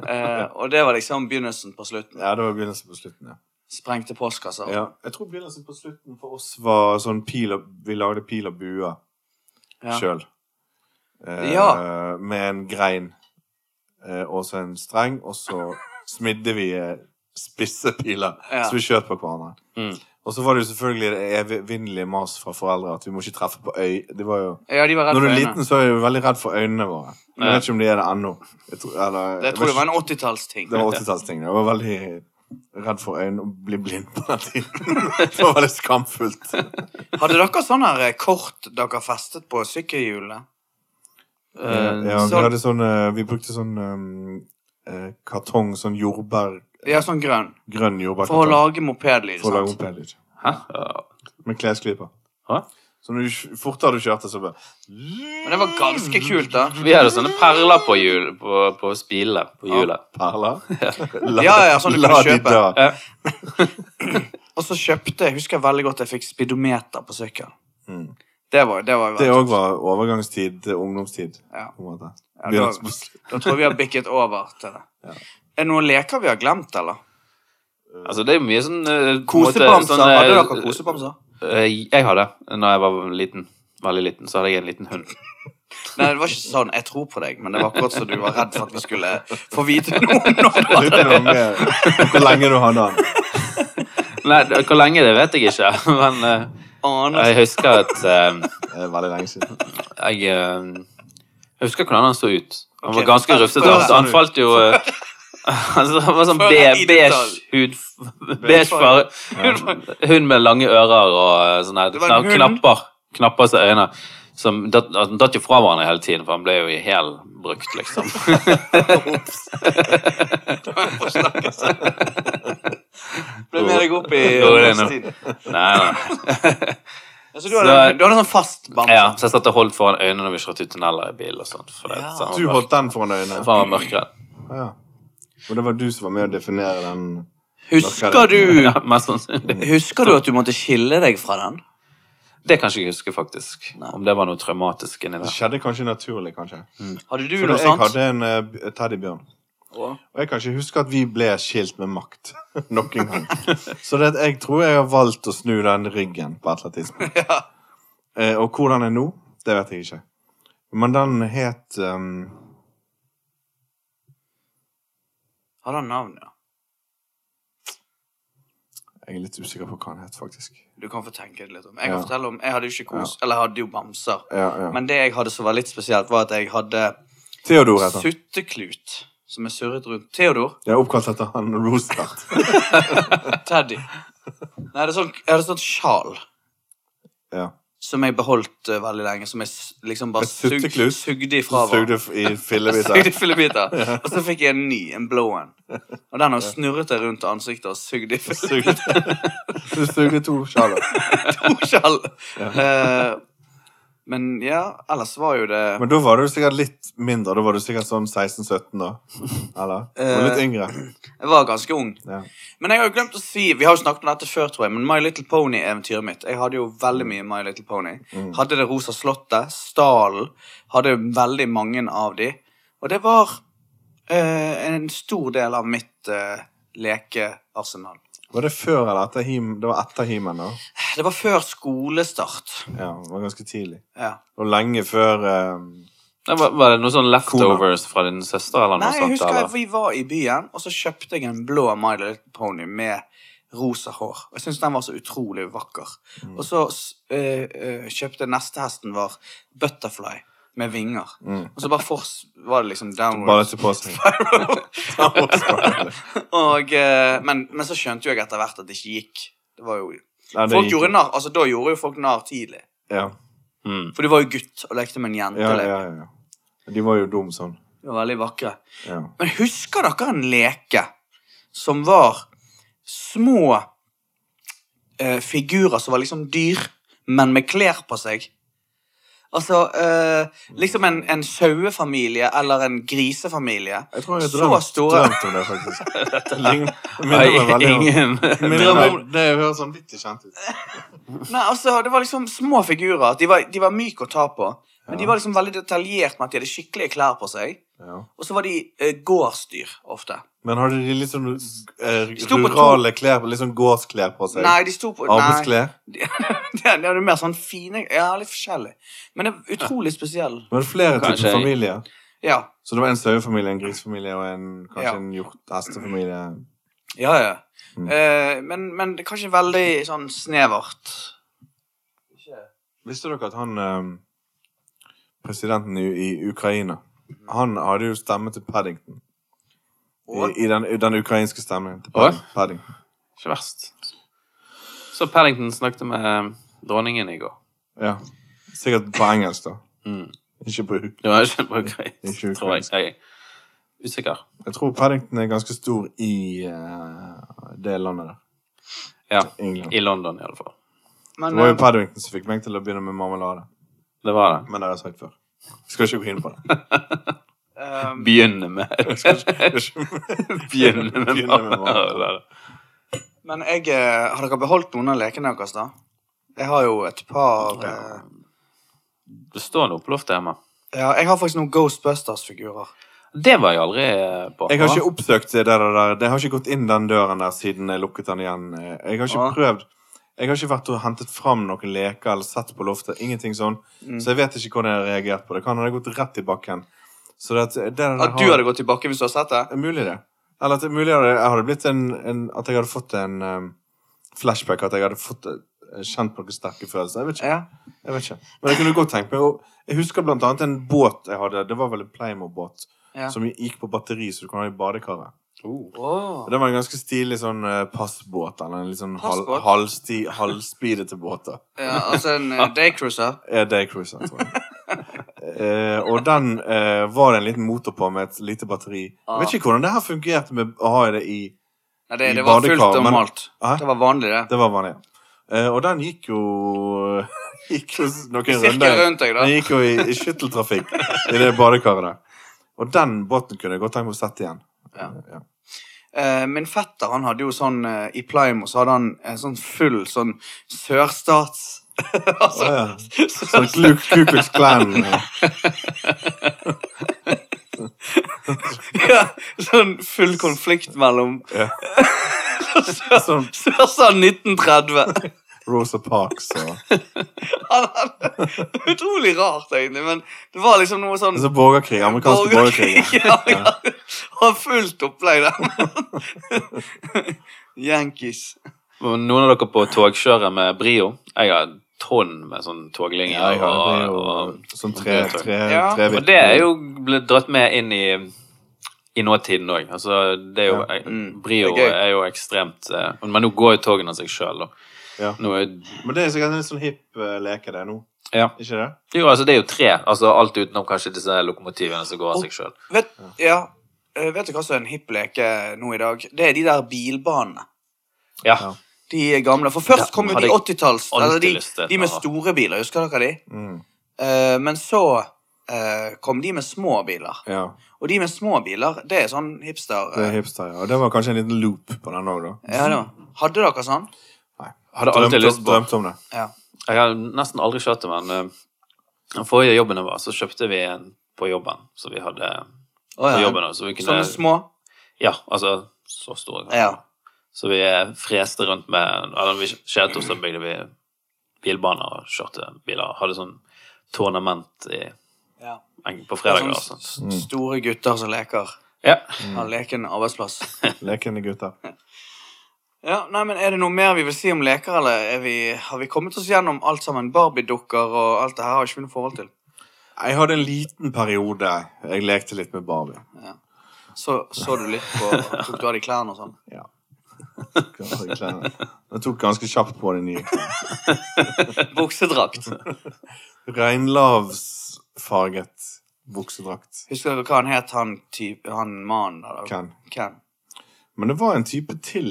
[SPEAKER 2] Eh, og det var liksom begynnelsen på slutten.
[SPEAKER 1] ja, det var begynnelsen på slutten, ja.
[SPEAKER 2] Sprengte postkasser.
[SPEAKER 1] ja. Jeg tror begynnelsen på slutten for oss var sånn pil og Vi lagde pil og bue
[SPEAKER 2] Ja.
[SPEAKER 1] sjøl. Eh,
[SPEAKER 2] Ja.
[SPEAKER 1] Med en grein eh, og så en streng, og så smidde vi eh, spisse piler
[SPEAKER 2] Ja.
[SPEAKER 1] så vi skjøt på hverandre.
[SPEAKER 3] Mm.
[SPEAKER 1] Og så var det jo selvfølgelig det evigvinnelige mas fra foreldre at vi må ikke treffe på øy. Det var jo...
[SPEAKER 2] Ja, de var redd
[SPEAKER 1] Når du
[SPEAKER 2] for
[SPEAKER 1] er
[SPEAKER 2] øynene.
[SPEAKER 1] liten, så er jeg jo veldig redd for øynene våre. Jeg
[SPEAKER 3] Ja.
[SPEAKER 1] vet ikke om de er det ennå. Jeg tror, eller,
[SPEAKER 2] Det
[SPEAKER 1] jeg
[SPEAKER 2] tror
[SPEAKER 1] vet
[SPEAKER 2] jeg var
[SPEAKER 1] ikke.
[SPEAKER 2] en 80-tallsting.
[SPEAKER 1] Det var 80-tallsting. Jeg var veldig redd for øynene og bli blind på den tiden. Det var veldig skamfullt.
[SPEAKER 2] Eh, Hadde dere sånne her eh, kort dere festet på sykkelhjulene?
[SPEAKER 3] Eh,
[SPEAKER 1] Ja, vi
[SPEAKER 2] sånn-
[SPEAKER 1] hadde sånn eh, Vi brukte sånn eh, eh, kartong, sånn jordbær
[SPEAKER 2] Ja, sånn grønn.
[SPEAKER 1] Grønn
[SPEAKER 2] For å
[SPEAKER 1] jordbærkartong.
[SPEAKER 2] lage mopedlyd.
[SPEAKER 1] For å lage
[SPEAKER 2] sant?
[SPEAKER 1] mopedlyd.
[SPEAKER 3] Hæ? Ja.
[SPEAKER 1] Med klesklyper.
[SPEAKER 3] Hæ?
[SPEAKER 1] Så når du fortere du kjørte, så bare
[SPEAKER 2] Men det var ganske kult, da.
[SPEAKER 3] Vi hadde sånne perler på, hjul, på, på spilene på hjulet.
[SPEAKER 1] Perler?
[SPEAKER 2] Ja, ja, sånn du
[SPEAKER 1] La
[SPEAKER 2] kunne
[SPEAKER 1] de
[SPEAKER 2] kjøpe.
[SPEAKER 1] da.
[SPEAKER 3] Ja.
[SPEAKER 2] Og så kjøpte jeg husker jeg veldig godt jeg fikk speedometer på sykkel.
[SPEAKER 1] Mm.
[SPEAKER 2] Det var, det var jo
[SPEAKER 1] Det òg var overgangstid til ungdomstid.
[SPEAKER 2] Ja.
[SPEAKER 1] På en måte.
[SPEAKER 2] Ja, det var-
[SPEAKER 1] Begynnelsen på slutten.
[SPEAKER 2] Da tror jeg vi har bikket over til det.
[SPEAKER 1] Ja.
[SPEAKER 2] Er det noen leker vi har glemt, eller?
[SPEAKER 3] Altså, det er jo mye sånn eh, på en måte
[SPEAKER 2] Kosebamser.
[SPEAKER 3] sånn, eh,
[SPEAKER 2] Hadde dere kosebamser?
[SPEAKER 3] eh, Jeg hadde. Når jeg var liten. Veldig liten. Så hadde jeg en liten hund.
[SPEAKER 2] Nei, det var ikke sånn 'jeg tror på deg', men det var akkurat så du var redd for at vi skulle få vite noe om det.
[SPEAKER 1] Jeg lurer på hvor mye- hvor lenge du hadde den.
[SPEAKER 3] Nei, det- hvor lenge det vet jeg ikke, men eh,
[SPEAKER 2] Aner.
[SPEAKER 3] jeg husker at eh,
[SPEAKER 1] Det er veldig lenge siden.
[SPEAKER 3] Jeg, eh, jeg husker hvordan han så ut. Han
[SPEAKER 2] Ok,
[SPEAKER 3] var ganske
[SPEAKER 2] før-
[SPEAKER 3] rufsete.
[SPEAKER 2] før
[SPEAKER 3] Han,
[SPEAKER 2] han
[SPEAKER 3] han
[SPEAKER 2] så ut.
[SPEAKER 3] falt jo eh, altså, Han var sånn
[SPEAKER 2] Før
[SPEAKER 3] be,
[SPEAKER 2] han i
[SPEAKER 3] beige
[SPEAKER 2] detalj.
[SPEAKER 3] hud Beige farge. Hund med lange ører og eh, sånne
[SPEAKER 2] Det var en
[SPEAKER 3] kna-
[SPEAKER 2] hund.
[SPEAKER 3] knapper. Knapper som øyne. Som datt, altså, han datt jo fra hverandre hele tiden, for han ble jo i hæl brukt, liksom.
[SPEAKER 2] sånn? Ble med deg opp i
[SPEAKER 3] Jo, det er noe.
[SPEAKER 2] ungdomstiden.
[SPEAKER 3] Nei, nei.
[SPEAKER 2] Ja, Så du hadde,
[SPEAKER 3] Så-
[SPEAKER 2] du hadde en sånn fast bamse?
[SPEAKER 3] Ja, så jeg satt og holdt foran øynene når vi kjørte ut tunneler i bil og sånt. For det,
[SPEAKER 2] Ja.
[SPEAKER 3] så han
[SPEAKER 1] Du
[SPEAKER 3] var mørk-
[SPEAKER 1] holdt den foran øynene.
[SPEAKER 3] for han var mørkredd.
[SPEAKER 1] Ja. Og det var du som var med å definere den.
[SPEAKER 2] Husker du,
[SPEAKER 3] Ja, mest sannsynlig.
[SPEAKER 2] husker du at du måtte skille deg fra den?
[SPEAKER 3] Det kan ikke jeg huske, faktisk.
[SPEAKER 2] Nei.
[SPEAKER 3] Om det var noe traumatisk inni
[SPEAKER 1] Det
[SPEAKER 3] der.
[SPEAKER 1] skjedde kanskje naturlig, kanskje.
[SPEAKER 2] Hadde du
[SPEAKER 1] For
[SPEAKER 2] noe
[SPEAKER 1] jeg
[SPEAKER 2] sånt?
[SPEAKER 1] hadde en eh, b- teddybjørn. Og jeg kan ikke huske at vi ble skilt med makt nok en gang. Så det, jeg tror jeg har valgt å snu den ryggen på et eller annet tidspunkt. Eh, og hvor den er nå, det vet jeg ikke. Men den het ehm,
[SPEAKER 2] Hadde han navn, ja?
[SPEAKER 1] Jeg er litt usikker på hva den het, faktisk.
[SPEAKER 2] Du kan få tenke det litt om. Jeg kan
[SPEAKER 1] Ja.
[SPEAKER 2] fortelle om, jeg hadde jo ikke kos, eller jeg hadde jo bamser.
[SPEAKER 1] Ja, ja.
[SPEAKER 2] Men det jeg hadde som var litt spesielt, var at jeg hadde
[SPEAKER 1] Theodor heter han.
[SPEAKER 2] sutteklut som er surret rundt. Theodor?
[SPEAKER 1] Jeg er oppkalt etter han Roosevelt.
[SPEAKER 2] Teddy? Nei, det er sånn, jeg hadde sånn sjal
[SPEAKER 1] Ja.
[SPEAKER 2] som jeg beholdt eh, veldig lenge, som jeg s- liksom bare
[SPEAKER 1] Et
[SPEAKER 2] sug,
[SPEAKER 1] sutteklut?
[SPEAKER 2] sugde ifra
[SPEAKER 1] Så sugde
[SPEAKER 2] hverandre.
[SPEAKER 1] i
[SPEAKER 2] Sugde
[SPEAKER 1] fillebiter.
[SPEAKER 2] i fillebiter. Og så fikk jeg en ny, en blå en. Og den har snurret jeg rundt ansiktet og sugd i fillebiter.
[SPEAKER 1] Sugde. Du sugde to sjaler.
[SPEAKER 2] Sjal.
[SPEAKER 1] Ja.
[SPEAKER 2] Eh, Men ja, ellers var jo det
[SPEAKER 1] Men da var du sikkert litt mindre. Da var du sikkert sånn 16-17, da. Eller? Du var litt
[SPEAKER 2] Eh.
[SPEAKER 1] yngre.
[SPEAKER 2] Jeg var ganske ung.
[SPEAKER 1] Ja.
[SPEAKER 2] Men jeg har jo glemt å si Vi har jo snakket om dette før, tror jeg, men My Little Pony-eventyret mitt Jeg hadde jo veldig mye My Little Pony. Hadde Det rosa slottet, Stalen. Hadde veldig mange av de. Og det var eh, en stor del av mitt eh, lekearsenal.
[SPEAKER 1] Var det før eller etter him? Det var etter himen, da.
[SPEAKER 2] Det var før skolestart.
[SPEAKER 1] Ja, det var ganske tidlig.
[SPEAKER 2] Ja.
[SPEAKER 1] Og lenge før eh,
[SPEAKER 3] Nei, var, var det noen sånne leftovers fra din søster eller noe
[SPEAKER 2] Nei, jeg
[SPEAKER 3] sånt?
[SPEAKER 2] husker at
[SPEAKER 3] Eller?
[SPEAKER 2] vi var i byen, og så kjøpte jeg en blå My Little Pony med rosa hår. Og Jeg syntes den var så utrolig vakker.
[SPEAKER 1] Mm.
[SPEAKER 2] Og så s- eh, eh, kjøpte neste hesten var Butterfly med vinger. Og så bare fors var det liksom
[SPEAKER 1] mm. Bare
[SPEAKER 2] downward.
[SPEAKER 1] til på seg. Nei,
[SPEAKER 2] Og, eh, men, men så skjønte jo jeg etter hvert at det ikke gikk. Det var jo...
[SPEAKER 1] det
[SPEAKER 2] Folk
[SPEAKER 1] gikk
[SPEAKER 2] gjorde
[SPEAKER 1] ikke.
[SPEAKER 2] narr, altså Da gjorde jo folk narr tidlig.
[SPEAKER 1] ja.
[SPEAKER 3] Mm.
[SPEAKER 2] For du var jo gutt og lekte med en jente.
[SPEAKER 1] Ja,
[SPEAKER 2] eller-
[SPEAKER 1] ja, ja, ja. De var jo dum sånn.
[SPEAKER 2] De var veldig vakre.
[SPEAKER 1] Ja.
[SPEAKER 2] Men husker dere en leke som var små eh, figurer som var liksom dyr, men med klær på seg? Altså eh, liksom en, en sauefamilie eller en grisefamilie.
[SPEAKER 1] Jeg tror jeg
[SPEAKER 2] Så
[SPEAKER 1] drømte,
[SPEAKER 2] store.
[SPEAKER 1] drømte om det, faktisk. Det ligner-
[SPEAKER 3] Nei,
[SPEAKER 1] minner meg veldig om-
[SPEAKER 3] ingen
[SPEAKER 1] minner meg om- Det høres sånn vittig kjent ut.
[SPEAKER 2] Nei, altså, Det var liksom små figurer. De var, de var myke å ta på. Men
[SPEAKER 1] Ja.
[SPEAKER 2] de var liksom veldig detaljert med at de hadde skikkelige klær på seg.
[SPEAKER 1] Ja.
[SPEAKER 2] Og så var de eh, gårdsdyr ofte.
[SPEAKER 1] Men hadde de litt sånn eh,
[SPEAKER 2] sto på to-
[SPEAKER 1] rurale klær, litt sånn gårdsklær på seg?
[SPEAKER 2] Nei, de sto på nei.
[SPEAKER 1] Arbeidsklær?
[SPEAKER 2] Det det er jo mer sånn fine Ja, litt forskjellig. Men det er utrolig spesiell.
[SPEAKER 1] Men flere
[SPEAKER 3] Kanskje
[SPEAKER 1] typer
[SPEAKER 3] jeg-
[SPEAKER 1] familier.
[SPEAKER 2] Ja.
[SPEAKER 1] Så det var en sauefamilie, en grisefamilie og en, kanskje
[SPEAKER 2] Ja.
[SPEAKER 1] en hjort- hestefamilie.
[SPEAKER 2] Ja, ja.
[SPEAKER 1] Mm.
[SPEAKER 2] Eh, men, men det er kanskje veldig sånn snevert.
[SPEAKER 1] Visste dere at han eh, presidenten i, i Ukraina Han hadde jo stemme til Paddington.
[SPEAKER 2] Og-
[SPEAKER 1] I, i den, i den ukrainske stemmen til
[SPEAKER 3] Og?
[SPEAKER 1] Padding- Paddington.
[SPEAKER 3] Ikke verst. Så Paddington snakket med eh, dronningen i går.
[SPEAKER 1] Ja. Sikkert på engelsk, da.
[SPEAKER 3] Mm.
[SPEAKER 1] Ikke på uk-
[SPEAKER 3] Det var ikke noe greit,
[SPEAKER 1] Ikke
[SPEAKER 3] tror jeg.
[SPEAKER 1] ukrainsk.
[SPEAKER 3] jeg. er Usikker.
[SPEAKER 1] Jeg tror Paddington er ganske stor i eh, det landet der.
[SPEAKER 3] Ja.
[SPEAKER 1] England.
[SPEAKER 3] I London, i alle fall.
[SPEAKER 1] Det
[SPEAKER 2] Men,
[SPEAKER 1] var jo
[SPEAKER 2] eh,
[SPEAKER 1] Paddington som fikk meg til å begynne med marmelade.
[SPEAKER 3] Det var det.
[SPEAKER 1] Men det har jeg sagt før. Jeg skal ikke gå inn på det.
[SPEAKER 2] eh,
[SPEAKER 1] Mm.
[SPEAKER 3] Begynne med
[SPEAKER 1] Jeg skal ikke, jeg skal ikke.
[SPEAKER 3] Begynne med
[SPEAKER 1] Begynne med
[SPEAKER 3] marmelade.
[SPEAKER 2] men jeg eh, Har dere beholdt noen av lekene deres, da? Jeg har jo et par eh,
[SPEAKER 3] Det står noe på loftet hjemme.
[SPEAKER 2] Ja, jeg har faktisk noen Ghostbusters-figurer.
[SPEAKER 3] Det var jeg aldri eh, på.
[SPEAKER 1] Jeg har ikke oppsøkt det der, der. Jeg har ikke gått inn den døren der siden jeg lukket den igjen. Jeg har ikke
[SPEAKER 2] Ah.
[SPEAKER 1] prøvd. Jeg har ikke vært og hentet fram noen leker eller sett på loftet. Ingenting sånn. Så jeg vet ikke hvordan jeg har reagert på det. Kan ha gått rett i bakken. Så det, at- det der
[SPEAKER 2] At du
[SPEAKER 1] har-
[SPEAKER 2] hadde gått tilbake hvis du hadde sett det?
[SPEAKER 1] er mulig det. Eller at det er mulig at jeg hadde blitt en, en At jeg hadde fått en um, flashback. At jeg hadde fått eh, kjent på noen sterke følelser. Jeg vet, ikke,
[SPEAKER 2] Ja.
[SPEAKER 1] jeg vet ikke. Men jeg kunne godt tenkt meg å- Jeg husker blant annet en båt jeg hadde. Det var vel en Playmo-båt
[SPEAKER 2] Ja.
[SPEAKER 1] som gikk på batteri, så du kunne ha i badekaret.
[SPEAKER 3] Oh.
[SPEAKER 2] Åh.
[SPEAKER 1] Og Det var en ganske stilig sånn eh, passbåt, eller en litt sånn hal,
[SPEAKER 2] Passbåt?
[SPEAKER 1] halvsti, halvspidete båt. da.
[SPEAKER 2] ja altså en eh, daycruiser.
[SPEAKER 1] Eh, Daycruiser, tror jeg. Eh, og den eh, var det en liten motor på med et lite batteri.
[SPEAKER 2] Ah.
[SPEAKER 1] Jeg vet ikke hvordan det her fungerte med å ha det i
[SPEAKER 2] Nei, det,
[SPEAKER 1] I
[SPEAKER 2] det var fullt
[SPEAKER 1] badekar,
[SPEAKER 2] og
[SPEAKER 1] men-
[SPEAKER 2] malt.
[SPEAKER 1] Hæ?
[SPEAKER 2] Det var vanlig, det.
[SPEAKER 1] Det var vanlig. Eh, og den gikk jo Gikk jo noen
[SPEAKER 2] Sirkel
[SPEAKER 1] runder.
[SPEAKER 2] rundt deg, da.
[SPEAKER 1] Den gikk jo i, i skytteltrafikk i det badekaret der. Og den båten kunne jeg godt tenkt meg å sette igjen.
[SPEAKER 2] Ja.
[SPEAKER 1] Eh, ja.
[SPEAKER 2] Eh, Min fetter han hadde jo sånn eh, I Plymo så hadde han en sånn full sånn sørstats
[SPEAKER 1] Å,
[SPEAKER 2] altså,
[SPEAKER 1] ja. Sånn Ku Ku Klux Klan. eh,
[SPEAKER 2] ja, Sånn full konflikt mellom
[SPEAKER 1] Ja.
[SPEAKER 2] Sør-
[SPEAKER 1] Sånn
[SPEAKER 2] Sørstaten 1930.
[SPEAKER 1] Rosa Parks og
[SPEAKER 2] Han hadde, utrolig rart, egentlig, men det var liksom noe sånn
[SPEAKER 1] altså, borgerkrig. Amerikanske borgerkrig.
[SPEAKER 2] Ja, ja. Og fullt opplegg der. Yankees.
[SPEAKER 3] Noen av dere på togkjøret med Brio? Jeg har tonn med sånn toglinger.
[SPEAKER 1] Ja, ja, det er
[SPEAKER 3] og,
[SPEAKER 1] jo
[SPEAKER 3] og,
[SPEAKER 1] sånn tre, tre,
[SPEAKER 2] Ja,
[SPEAKER 1] tre
[SPEAKER 3] og det er jo blitt dratt med inn i, i nåtiden òg. Altså, det er jo,
[SPEAKER 1] Ja.
[SPEAKER 3] eh,
[SPEAKER 2] Mm,
[SPEAKER 3] Brio
[SPEAKER 2] det er
[SPEAKER 3] er,
[SPEAKER 2] gøy.
[SPEAKER 3] jo ekstremt eh, Men nå går jo togene av seg sjøl, da.
[SPEAKER 1] Ja.
[SPEAKER 3] Nå er-
[SPEAKER 1] Men det er sikkert en litt sånn hipp eh, leke, det nå.
[SPEAKER 3] ja.
[SPEAKER 1] Ikke det?
[SPEAKER 3] Jo, altså, det er jo tre. Altså, alt utenom kanskje disse lokomotivene som går av seg sjøl.
[SPEAKER 2] Vet, ja. eh, Vet du hva som er en hipp leke nå i dag? Det er de der bilbanene.
[SPEAKER 3] Ja.
[SPEAKER 1] Ja.
[SPEAKER 2] De er gamle. For først
[SPEAKER 3] Ja,
[SPEAKER 2] kom jo
[SPEAKER 3] hadde
[SPEAKER 2] de
[SPEAKER 3] jeg
[SPEAKER 2] 80-talls.
[SPEAKER 3] alltid
[SPEAKER 2] eller De,
[SPEAKER 3] lyst til
[SPEAKER 2] de med
[SPEAKER 3] å ha.
[SPEAKER 2] store biler, husker dere de?
[SPEAKER 1] Mm.
[SPEAKER 2] Eh, men så eh, kom de med små biler.
[SPEAKER 1] Ja,
[SPEAKER 2] Og de med små biler, det er sånn hipster...
[SPEAKER 1] det er hipster, ja. Og det var kanskje en liten loop på den òg, da.
[SPEAKER 2] ja, det var. Hadde dere sånn?
[SPEAKER 1] Nei.
[SPEAKER 3] Hadde alltid
[SPEAKER 1] Drømte-
[SPEAKER 3] lyst på.
[SPEAKER 1] Drømte om det.
[SPEAKER 2] Ja.
[SPEAKER 3] Jeg har nesten aldri kjørt det, men eh, den forrige jobben jeg var, så kjøpte vi en på jobben. Så vi hadde
[SPEAKER 2] Å,
[SPEAKER 3] på
[SPEAKER 2] ja. Sånn
[SPEAKER 3] jobben også, så vi kunne,
[SPEAKER 2] Sånne små?
[SPEAKER 3] Ja, altså så store. kanskje.
[SPEAKER 2] Ja.
[SPEAKER 3] Så vi eh, freste rundt med Eller vi skjedde oss og bygde vi bilbaner og kjørte biler. Hadde sånn tournament i,
[SPEAKER 2] ja.
[SPEAKER 3] på fredager. altså.
[SPEAKER 2] Sånne
[SPEAKER 3] og sånt.
[SPEAKER 2] s- s- store gutter som leker.
[SPEAKER 3] Ja.
[SPEAKER 2] Har leken arbeidsplass.
[SPEAKER 1] Lekende gutter.
[SPEAKER 2] Ja, nei, men Er det noe mer vi vil si om leker, eller er vi, har vi kommet oss gjennom alt sammen? Barbie-dukker og alt det her har jeg ikke vi noe forhold til.
[SPEAKER 1] Jeg hadde en liten periode jeg lekte litt med Barbie.
[SPEAKER 2] Så, så du litt på Tok du av de klærne og sånn?
[SPEAKER 1] Ja. Jeg tok ganske kjapt på de nye.
[SPEAKER 2] Buksedrakt.
[SPEAKER 1] Reinlavsfarget buksedrakt.
[SPEAKER 2] Husker dere hva han het, han, typ- han mannen der? da?
[SPEAKER 1] Ken.
[SPEAKER 2] Ken.
[SPEAKER 1] Men det var en type til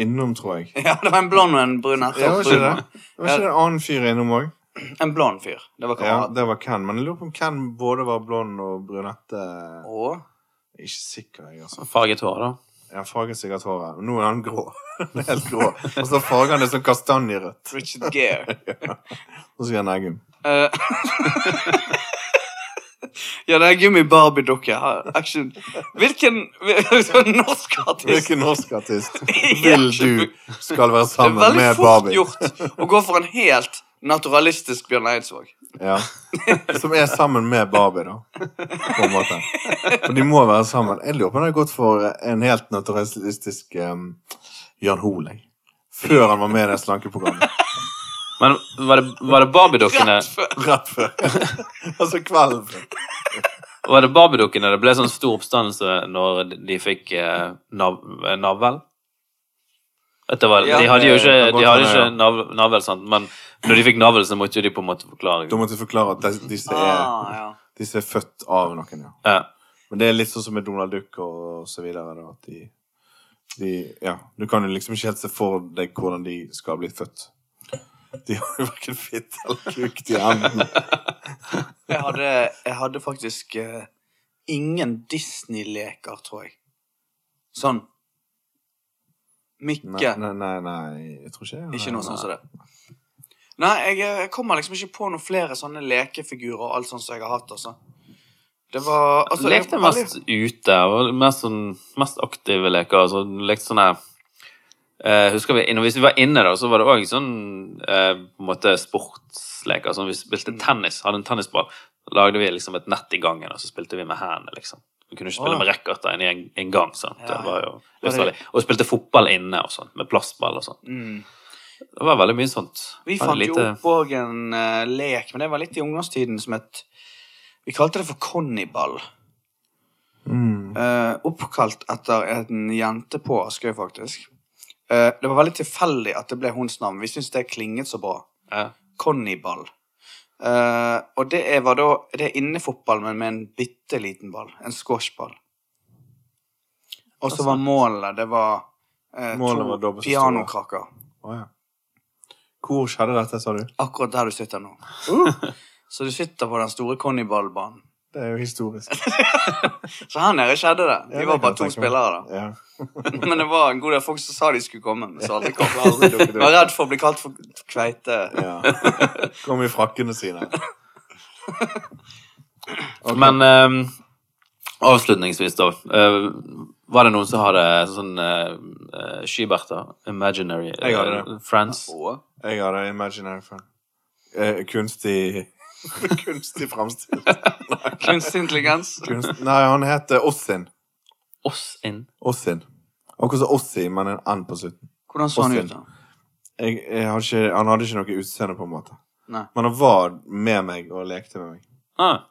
[SPEAKER 1] innom, tror jeg.
[SPEAKER 2] Ja, det var en blond og en brunette.
[SPEAKER 1] Det var ikke det. Det var
[SPEAKER 2] Ja.
[SPEAKER 1] ikke en annen fyr innom òg.
[SPEAKER 2] En blond fyr. Det var
[SPEAKER 1] Ja,
[SPEAKER 2] kamerat.
[SPEAKER 1] det var Ken. Men jeg lurer på om Ken både var blond og brunette.
[SPEAKER 2] Og
[SPEAKER 1] Jeg er Ikke sikker, jeg, altså.
[SPEAKER 3] Farget hår, da.
[SPEAKER 1] Jeg farget sikkert håret. Nå er han grå. Det er Helt grå. Og så farger han det som kastanjerødt.
[SPEAKER 2] Richard Gere.
[SPEAKER 1] Og så gjør han Eggum.
[SPEAKER 2] Eh, ja, det er gummi-Barbie-dukke. her. Action. Hvilken hvil- norsk artist
[SPEAKER 1] Hvilken norsk artist
[SPEAKER 2] Ja,
[SPEAKER 1] vil du skal være
[SPEAKER 2] Det er
[SPEAKER 1] sammen
[SPEAKER 2] veldig
[SPEAKER 1] med
[SPEAKER 2] fort
[SPEAKER 1] Barbie?
[SPEAKER 2] gjort å gå for en helt naturalistisk Bjørn Eidsvåg.
[SPEAKER 1] Ja. Som er sammen med Barbie, da. På en måte. Og de må være sammen. Jeg lurer på om han har gått for en helt naturalistisk um, Jan Hoel, jeg. Før han var med i det slankeprogrammet.
[SPEAKER 3] Men var det, var det Barbie-dukkene
[SPEAKER 2] Rett før.
[SPEAKER 1] Rett før. altså kvelden før.
[SPEAKER 3] Var det Barbie-dukkene det ble sånn stor oppstandelse når de fikk eh, nav eh, navl? At det var,
[SPEAKER 2] Ja,
[SPEAKER 3] de hadde jo ikke,
[SPEAKER 1] det kan godt
[SPEAKER 3] de hadde
[SPEAKER 1] hende,
[SPEAKER 3] ikke
[SPEAKER 1] ja.
[SPEAKER 3] nav, navl, sant? men når de fikk navl, så måtte jo de på en måte forklare.
[SPEAKER 1] Da måtte jeg forklare at de- disse er,
[SPEAKER 2] Ah, ja.
[SPEAKER 1] disse er født av noen, ja.
[SPEAKER 3] Ja.
[SPEAKER 1] Men det er litt sånn som med Donald Duck og så videre. Da, at de, de, ja, du kan jo liksom ikke helt se for deg hvordan de skal bli født. De har jo verken fitte eller kuk til enden.
[SPEAKER 2] Jeg, hadde, jeg hadde faktisk eh, ingen Disney-leker, tror jeg. Sånn. Mikke.
[SPEAKER 1] Nei, nei, nei, nei, jeg tror ikke det.
[SPEAKER 2] Ikke noe sånn som det. Nei, jeg, jeg kommer liksom ikke på noen flere sånne lekefigurer og alt sånt som jeg har hatt, altså. Det var altså, jeg-
[SPEAKER 3] lekte mest ute, og mest, sånn, mest aktive leker. Altså, lekte sånne eh, Husker vi, når vi var inne, da, så var det òg sånn eh, på en måte sportsleker. Sånn, vi
[SPEAKER 2] Mm.
[SPEAKER 3] spilte tennis, hadde en tennisball. Lagde vi liksom et nett i gangen, og så spilte vi med hendene, liksom. Vi kunne ikke spille
[SPEAKER 2] Å.
[SPEAKER 3] med racketer inne i en, en gang. sant?
[SPEAKER 2] Ja, ja.
[SPEAKER 3] Det var jo
[SPEAKER 2] Var det-
[SPEAKER 3] livsfarlig. Og spilte fotball inne og sånt, med plastball og sånt.
[SPEAKER 2] Mm.
[SPEAKER 3] Det var veldig mye sånt.
[SPEAKER 2] Vi
[SPEAKER 3] Hadde
[SPEAKER 2] fant jo
[SPEAKER 3] lite-
[SPEAKER 2] opp òg en eh, lek, men det var litt i ungdomstiden som het Vi kalte det for Conniball.
[SPEAKER 1] Mm.
[SPEAKER 2] Eh, oppkalt etter en jente på Askøy, faktisk. Eh, det var veldig tilfeldig at det ble hennes navn. Vi syntes det klinget så bra.
[SPEAKER 3] Ja.
[SPEAKER 2] Conniball. Eh, og det er, var da, det er innefotball, men med en bitte liten ball. En squashball. Og så var målet Det var eh,
[SPEAKER 1] Målet var
[SPEAKER 2] to
[SPEAKER 1] dobbelt så store.
[SPEAKER 2] pianokraker.
[SPEAKER 1] Å, ja. Hvor skjedde dette, sa du?
[SPEAKER 2] Akkurat der du sitter nå. Uh! Så du sitter på den store conniballbanen.
[SPEAKER 1] Det er jo historisk.
[SPEAKER 2] Så her nede skjedde det.
[SPEAKER 1] Ja,
[SPEAKER 2] Vi
[SPEAKER 1] det
[SPEAKER 2] var
[SPEAKER 1] kan
[SPEAKER 2] bare
[SPEAKER 1] jeg
[SPEAKER 2] to
[SPEAKER 1] tenke meg.
[SPEAKER 2] spillere, da.
[SPEAKER 1] Ja.
[SPEAKER 2] Men det var en god del folk som sa de skulle komme, men så aldri kom.
[SPEAKER 1] Aldri dukket
[SPEAKER 2] Jeg var
[SPEAKER 1] opp.
[SPEAKER 2] redd for å bli kalt for kveite.
[SPEAKER 1] Ja. Kom i frakkene sine. Ok.
[SPEAKER 3] Men eh, avslutningsvis, da. eh, var det noen som hadde sånn eh, eh, skyberter? Imaginary eh,
[SPEAKER 1] Jeg hadde det.
[SPEAKER 3] Friends?
[SPEAKER 2] Og
[SPEAKER 1] Jeg hadde imaginary fun. Eh, kunstig Kunstig framstilt.
[SPEAKER 2] kunstig intelligens.
[SPEAKER 1] Kunst... Nei, han heter Ossin.
[SPEAKER 3] Oss inn?
[SPEAKER 1] Ossin. Akkurat som Ossi, men en N på slutten.
[SPEAKER 2] Hvordan så han ut, da?
[SPEAKER 1] Jeg, jeg har ikke, han hadde ikke noe utseende, på en måte.
[SPEAKER 2] Nei.
[SPEAKER 1] Men han var med meg og lekte med meg.
[SPEAKER 3] Ah,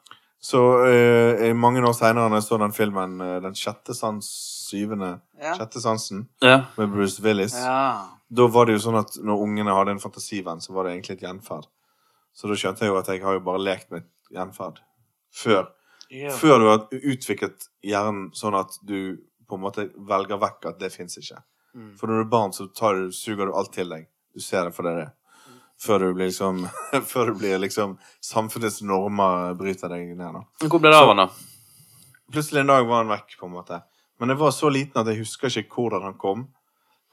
[SPEAKER 1] Så eh, mange år seinere, når jeg så den filmen eh, Den sjette sans syvende
[SPEAKER 2] Ja.
[SPEAKER 1] Sjette sansen
[SPEAKER 3] ja.
[SPEAKER 1] med Bruce Willis,
[SPEAKER 2] Ja.
[SPEAKER 1] da var det jo sånn at når ungene hadde en fantasivenn, så var det egentlig et gjenferd. Så da skjønte jeg jo at jeg har jo bare lekt med et gjenferd før. Før du har utviklet hjernen sånn at du på en måte velger vekk at det fins ikke.
[SPEAKER 2] Mm.
[SPEAKER 1] For når du er barn, så tar du, suger du alt til deg. Du ser det for det det er. før du blir liksom, før du blir liksom Samfunnets normer bryter deg ned. da.
[SPEAKER 3] Hvor ble det av han, da?
[SPEAKER 1] Plutselig en dag var han vekk, på en måte. Men jeg var så liten at jeg husker ikke hvordan han kom,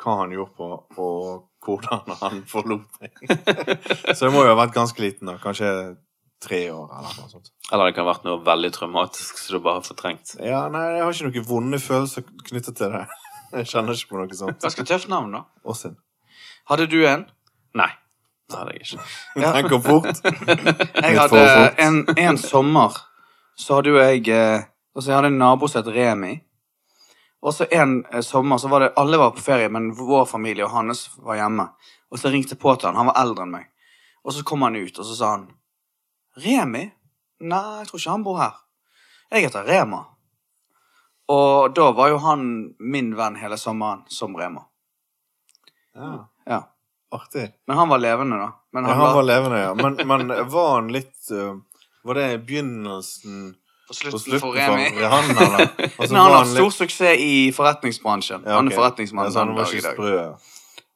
[SPEAKER 1] hva han gjorde på, og hvordan han forlot meg. så jeg må jo ha vært ganske liten da, kanskje tre år eller noe sånt.
[SPEAKER 3] Eller det kan ha vært noe veldig traumatisk så du bare har fortrengt.
[SPEAKER 1] Ja, nei, jeg har ikke noen vonde følelser knyttet til det. Jeg kjenner ikke på noe sånt.
[SPEAKER 2] Ganske tøft navn, da.
[SPEAKER 1] Åsinn.
[SPEAKER 2] Hadde du en?
[SPEAKER 3] Nei. Det hadde jeg ikke.
[SPEAKER 2] Ja.
[SPEAKER 1] Den går fort.
[SPEAKER 2] Jeg
[SPEAKER 1] Litt
[SPEAKER 2] hadde
[SPEAKER 1] for fort.
[SPEAKER 2] en, en sommer så hadde jo jeg eh, Altså, jeg hadde en nabo som het Remi. Og så en eh, sommer så var det Alle var på ferie, men vår familie og hans var hjemme. Og så ringte jeg på til han. Han var eldre enn meg. Og så kom han ut, og så sa han Remi? Nei, jeg tror ikke han bor her. Jeg heter Rema. Og da var jo han min venn hele sommeren som Rema.
[SPEAKER 1] Ja,
[SPEAKER 2] Ja.
[SPEAKER 1] artig.
[SPEAKER 2] Men han var levende, da. Men
[SPEAKER 1] Ja,
[SPEAKER 2] han,
[SPEAKER 1] han var
[SPEAKER 2] var,
[SPEAKER 1] levende, ja. Men, men var han litt eh, Var det i begynnelsen
[SPEAKER 2] på
[SPEAKER 1] på
[SPEAKER 2] slutten
[SPEAKER 1] slutten
[SPEAKER 2] for Remi.
[SPEAKER 1] han, eller? Og så
[SPEAKER 2] Men han har
[SPEAKER 1] var
[SPEAKER 2] hatt
[SPEAKER 1] han
[SPEAKER 2] stor
[SPEAKER 1] litt-
[SPEAKER 2] suksess i forretningsbransjen.
[SPEAKER 1] Altså, Ja,
[SPEAKER 2] Han
[SPEAKER 1] ok.
[SPEAKER 2] er forretningsmann
[SPEAKER 1] Ja, så han
[SPEAKER 2] den
[SPEAKER 1] var
[SPEAKER 2] dag i
[SPEAKER 1] ikke
[SPEAKER 2] dag.
[SPEAKER 1] sprø. ja.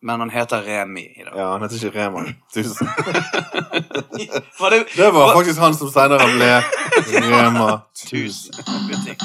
[SPEAKER 2] Men han heter Remi i dag.
[SPEAKER 1] Ja, han heter ikke Rema. Tusen.
[SPEAKER 2] Var det
[SPEAKER 1] Det var faktisk han som senere ble Rema 1000.
[SPEAKER 2] butikk?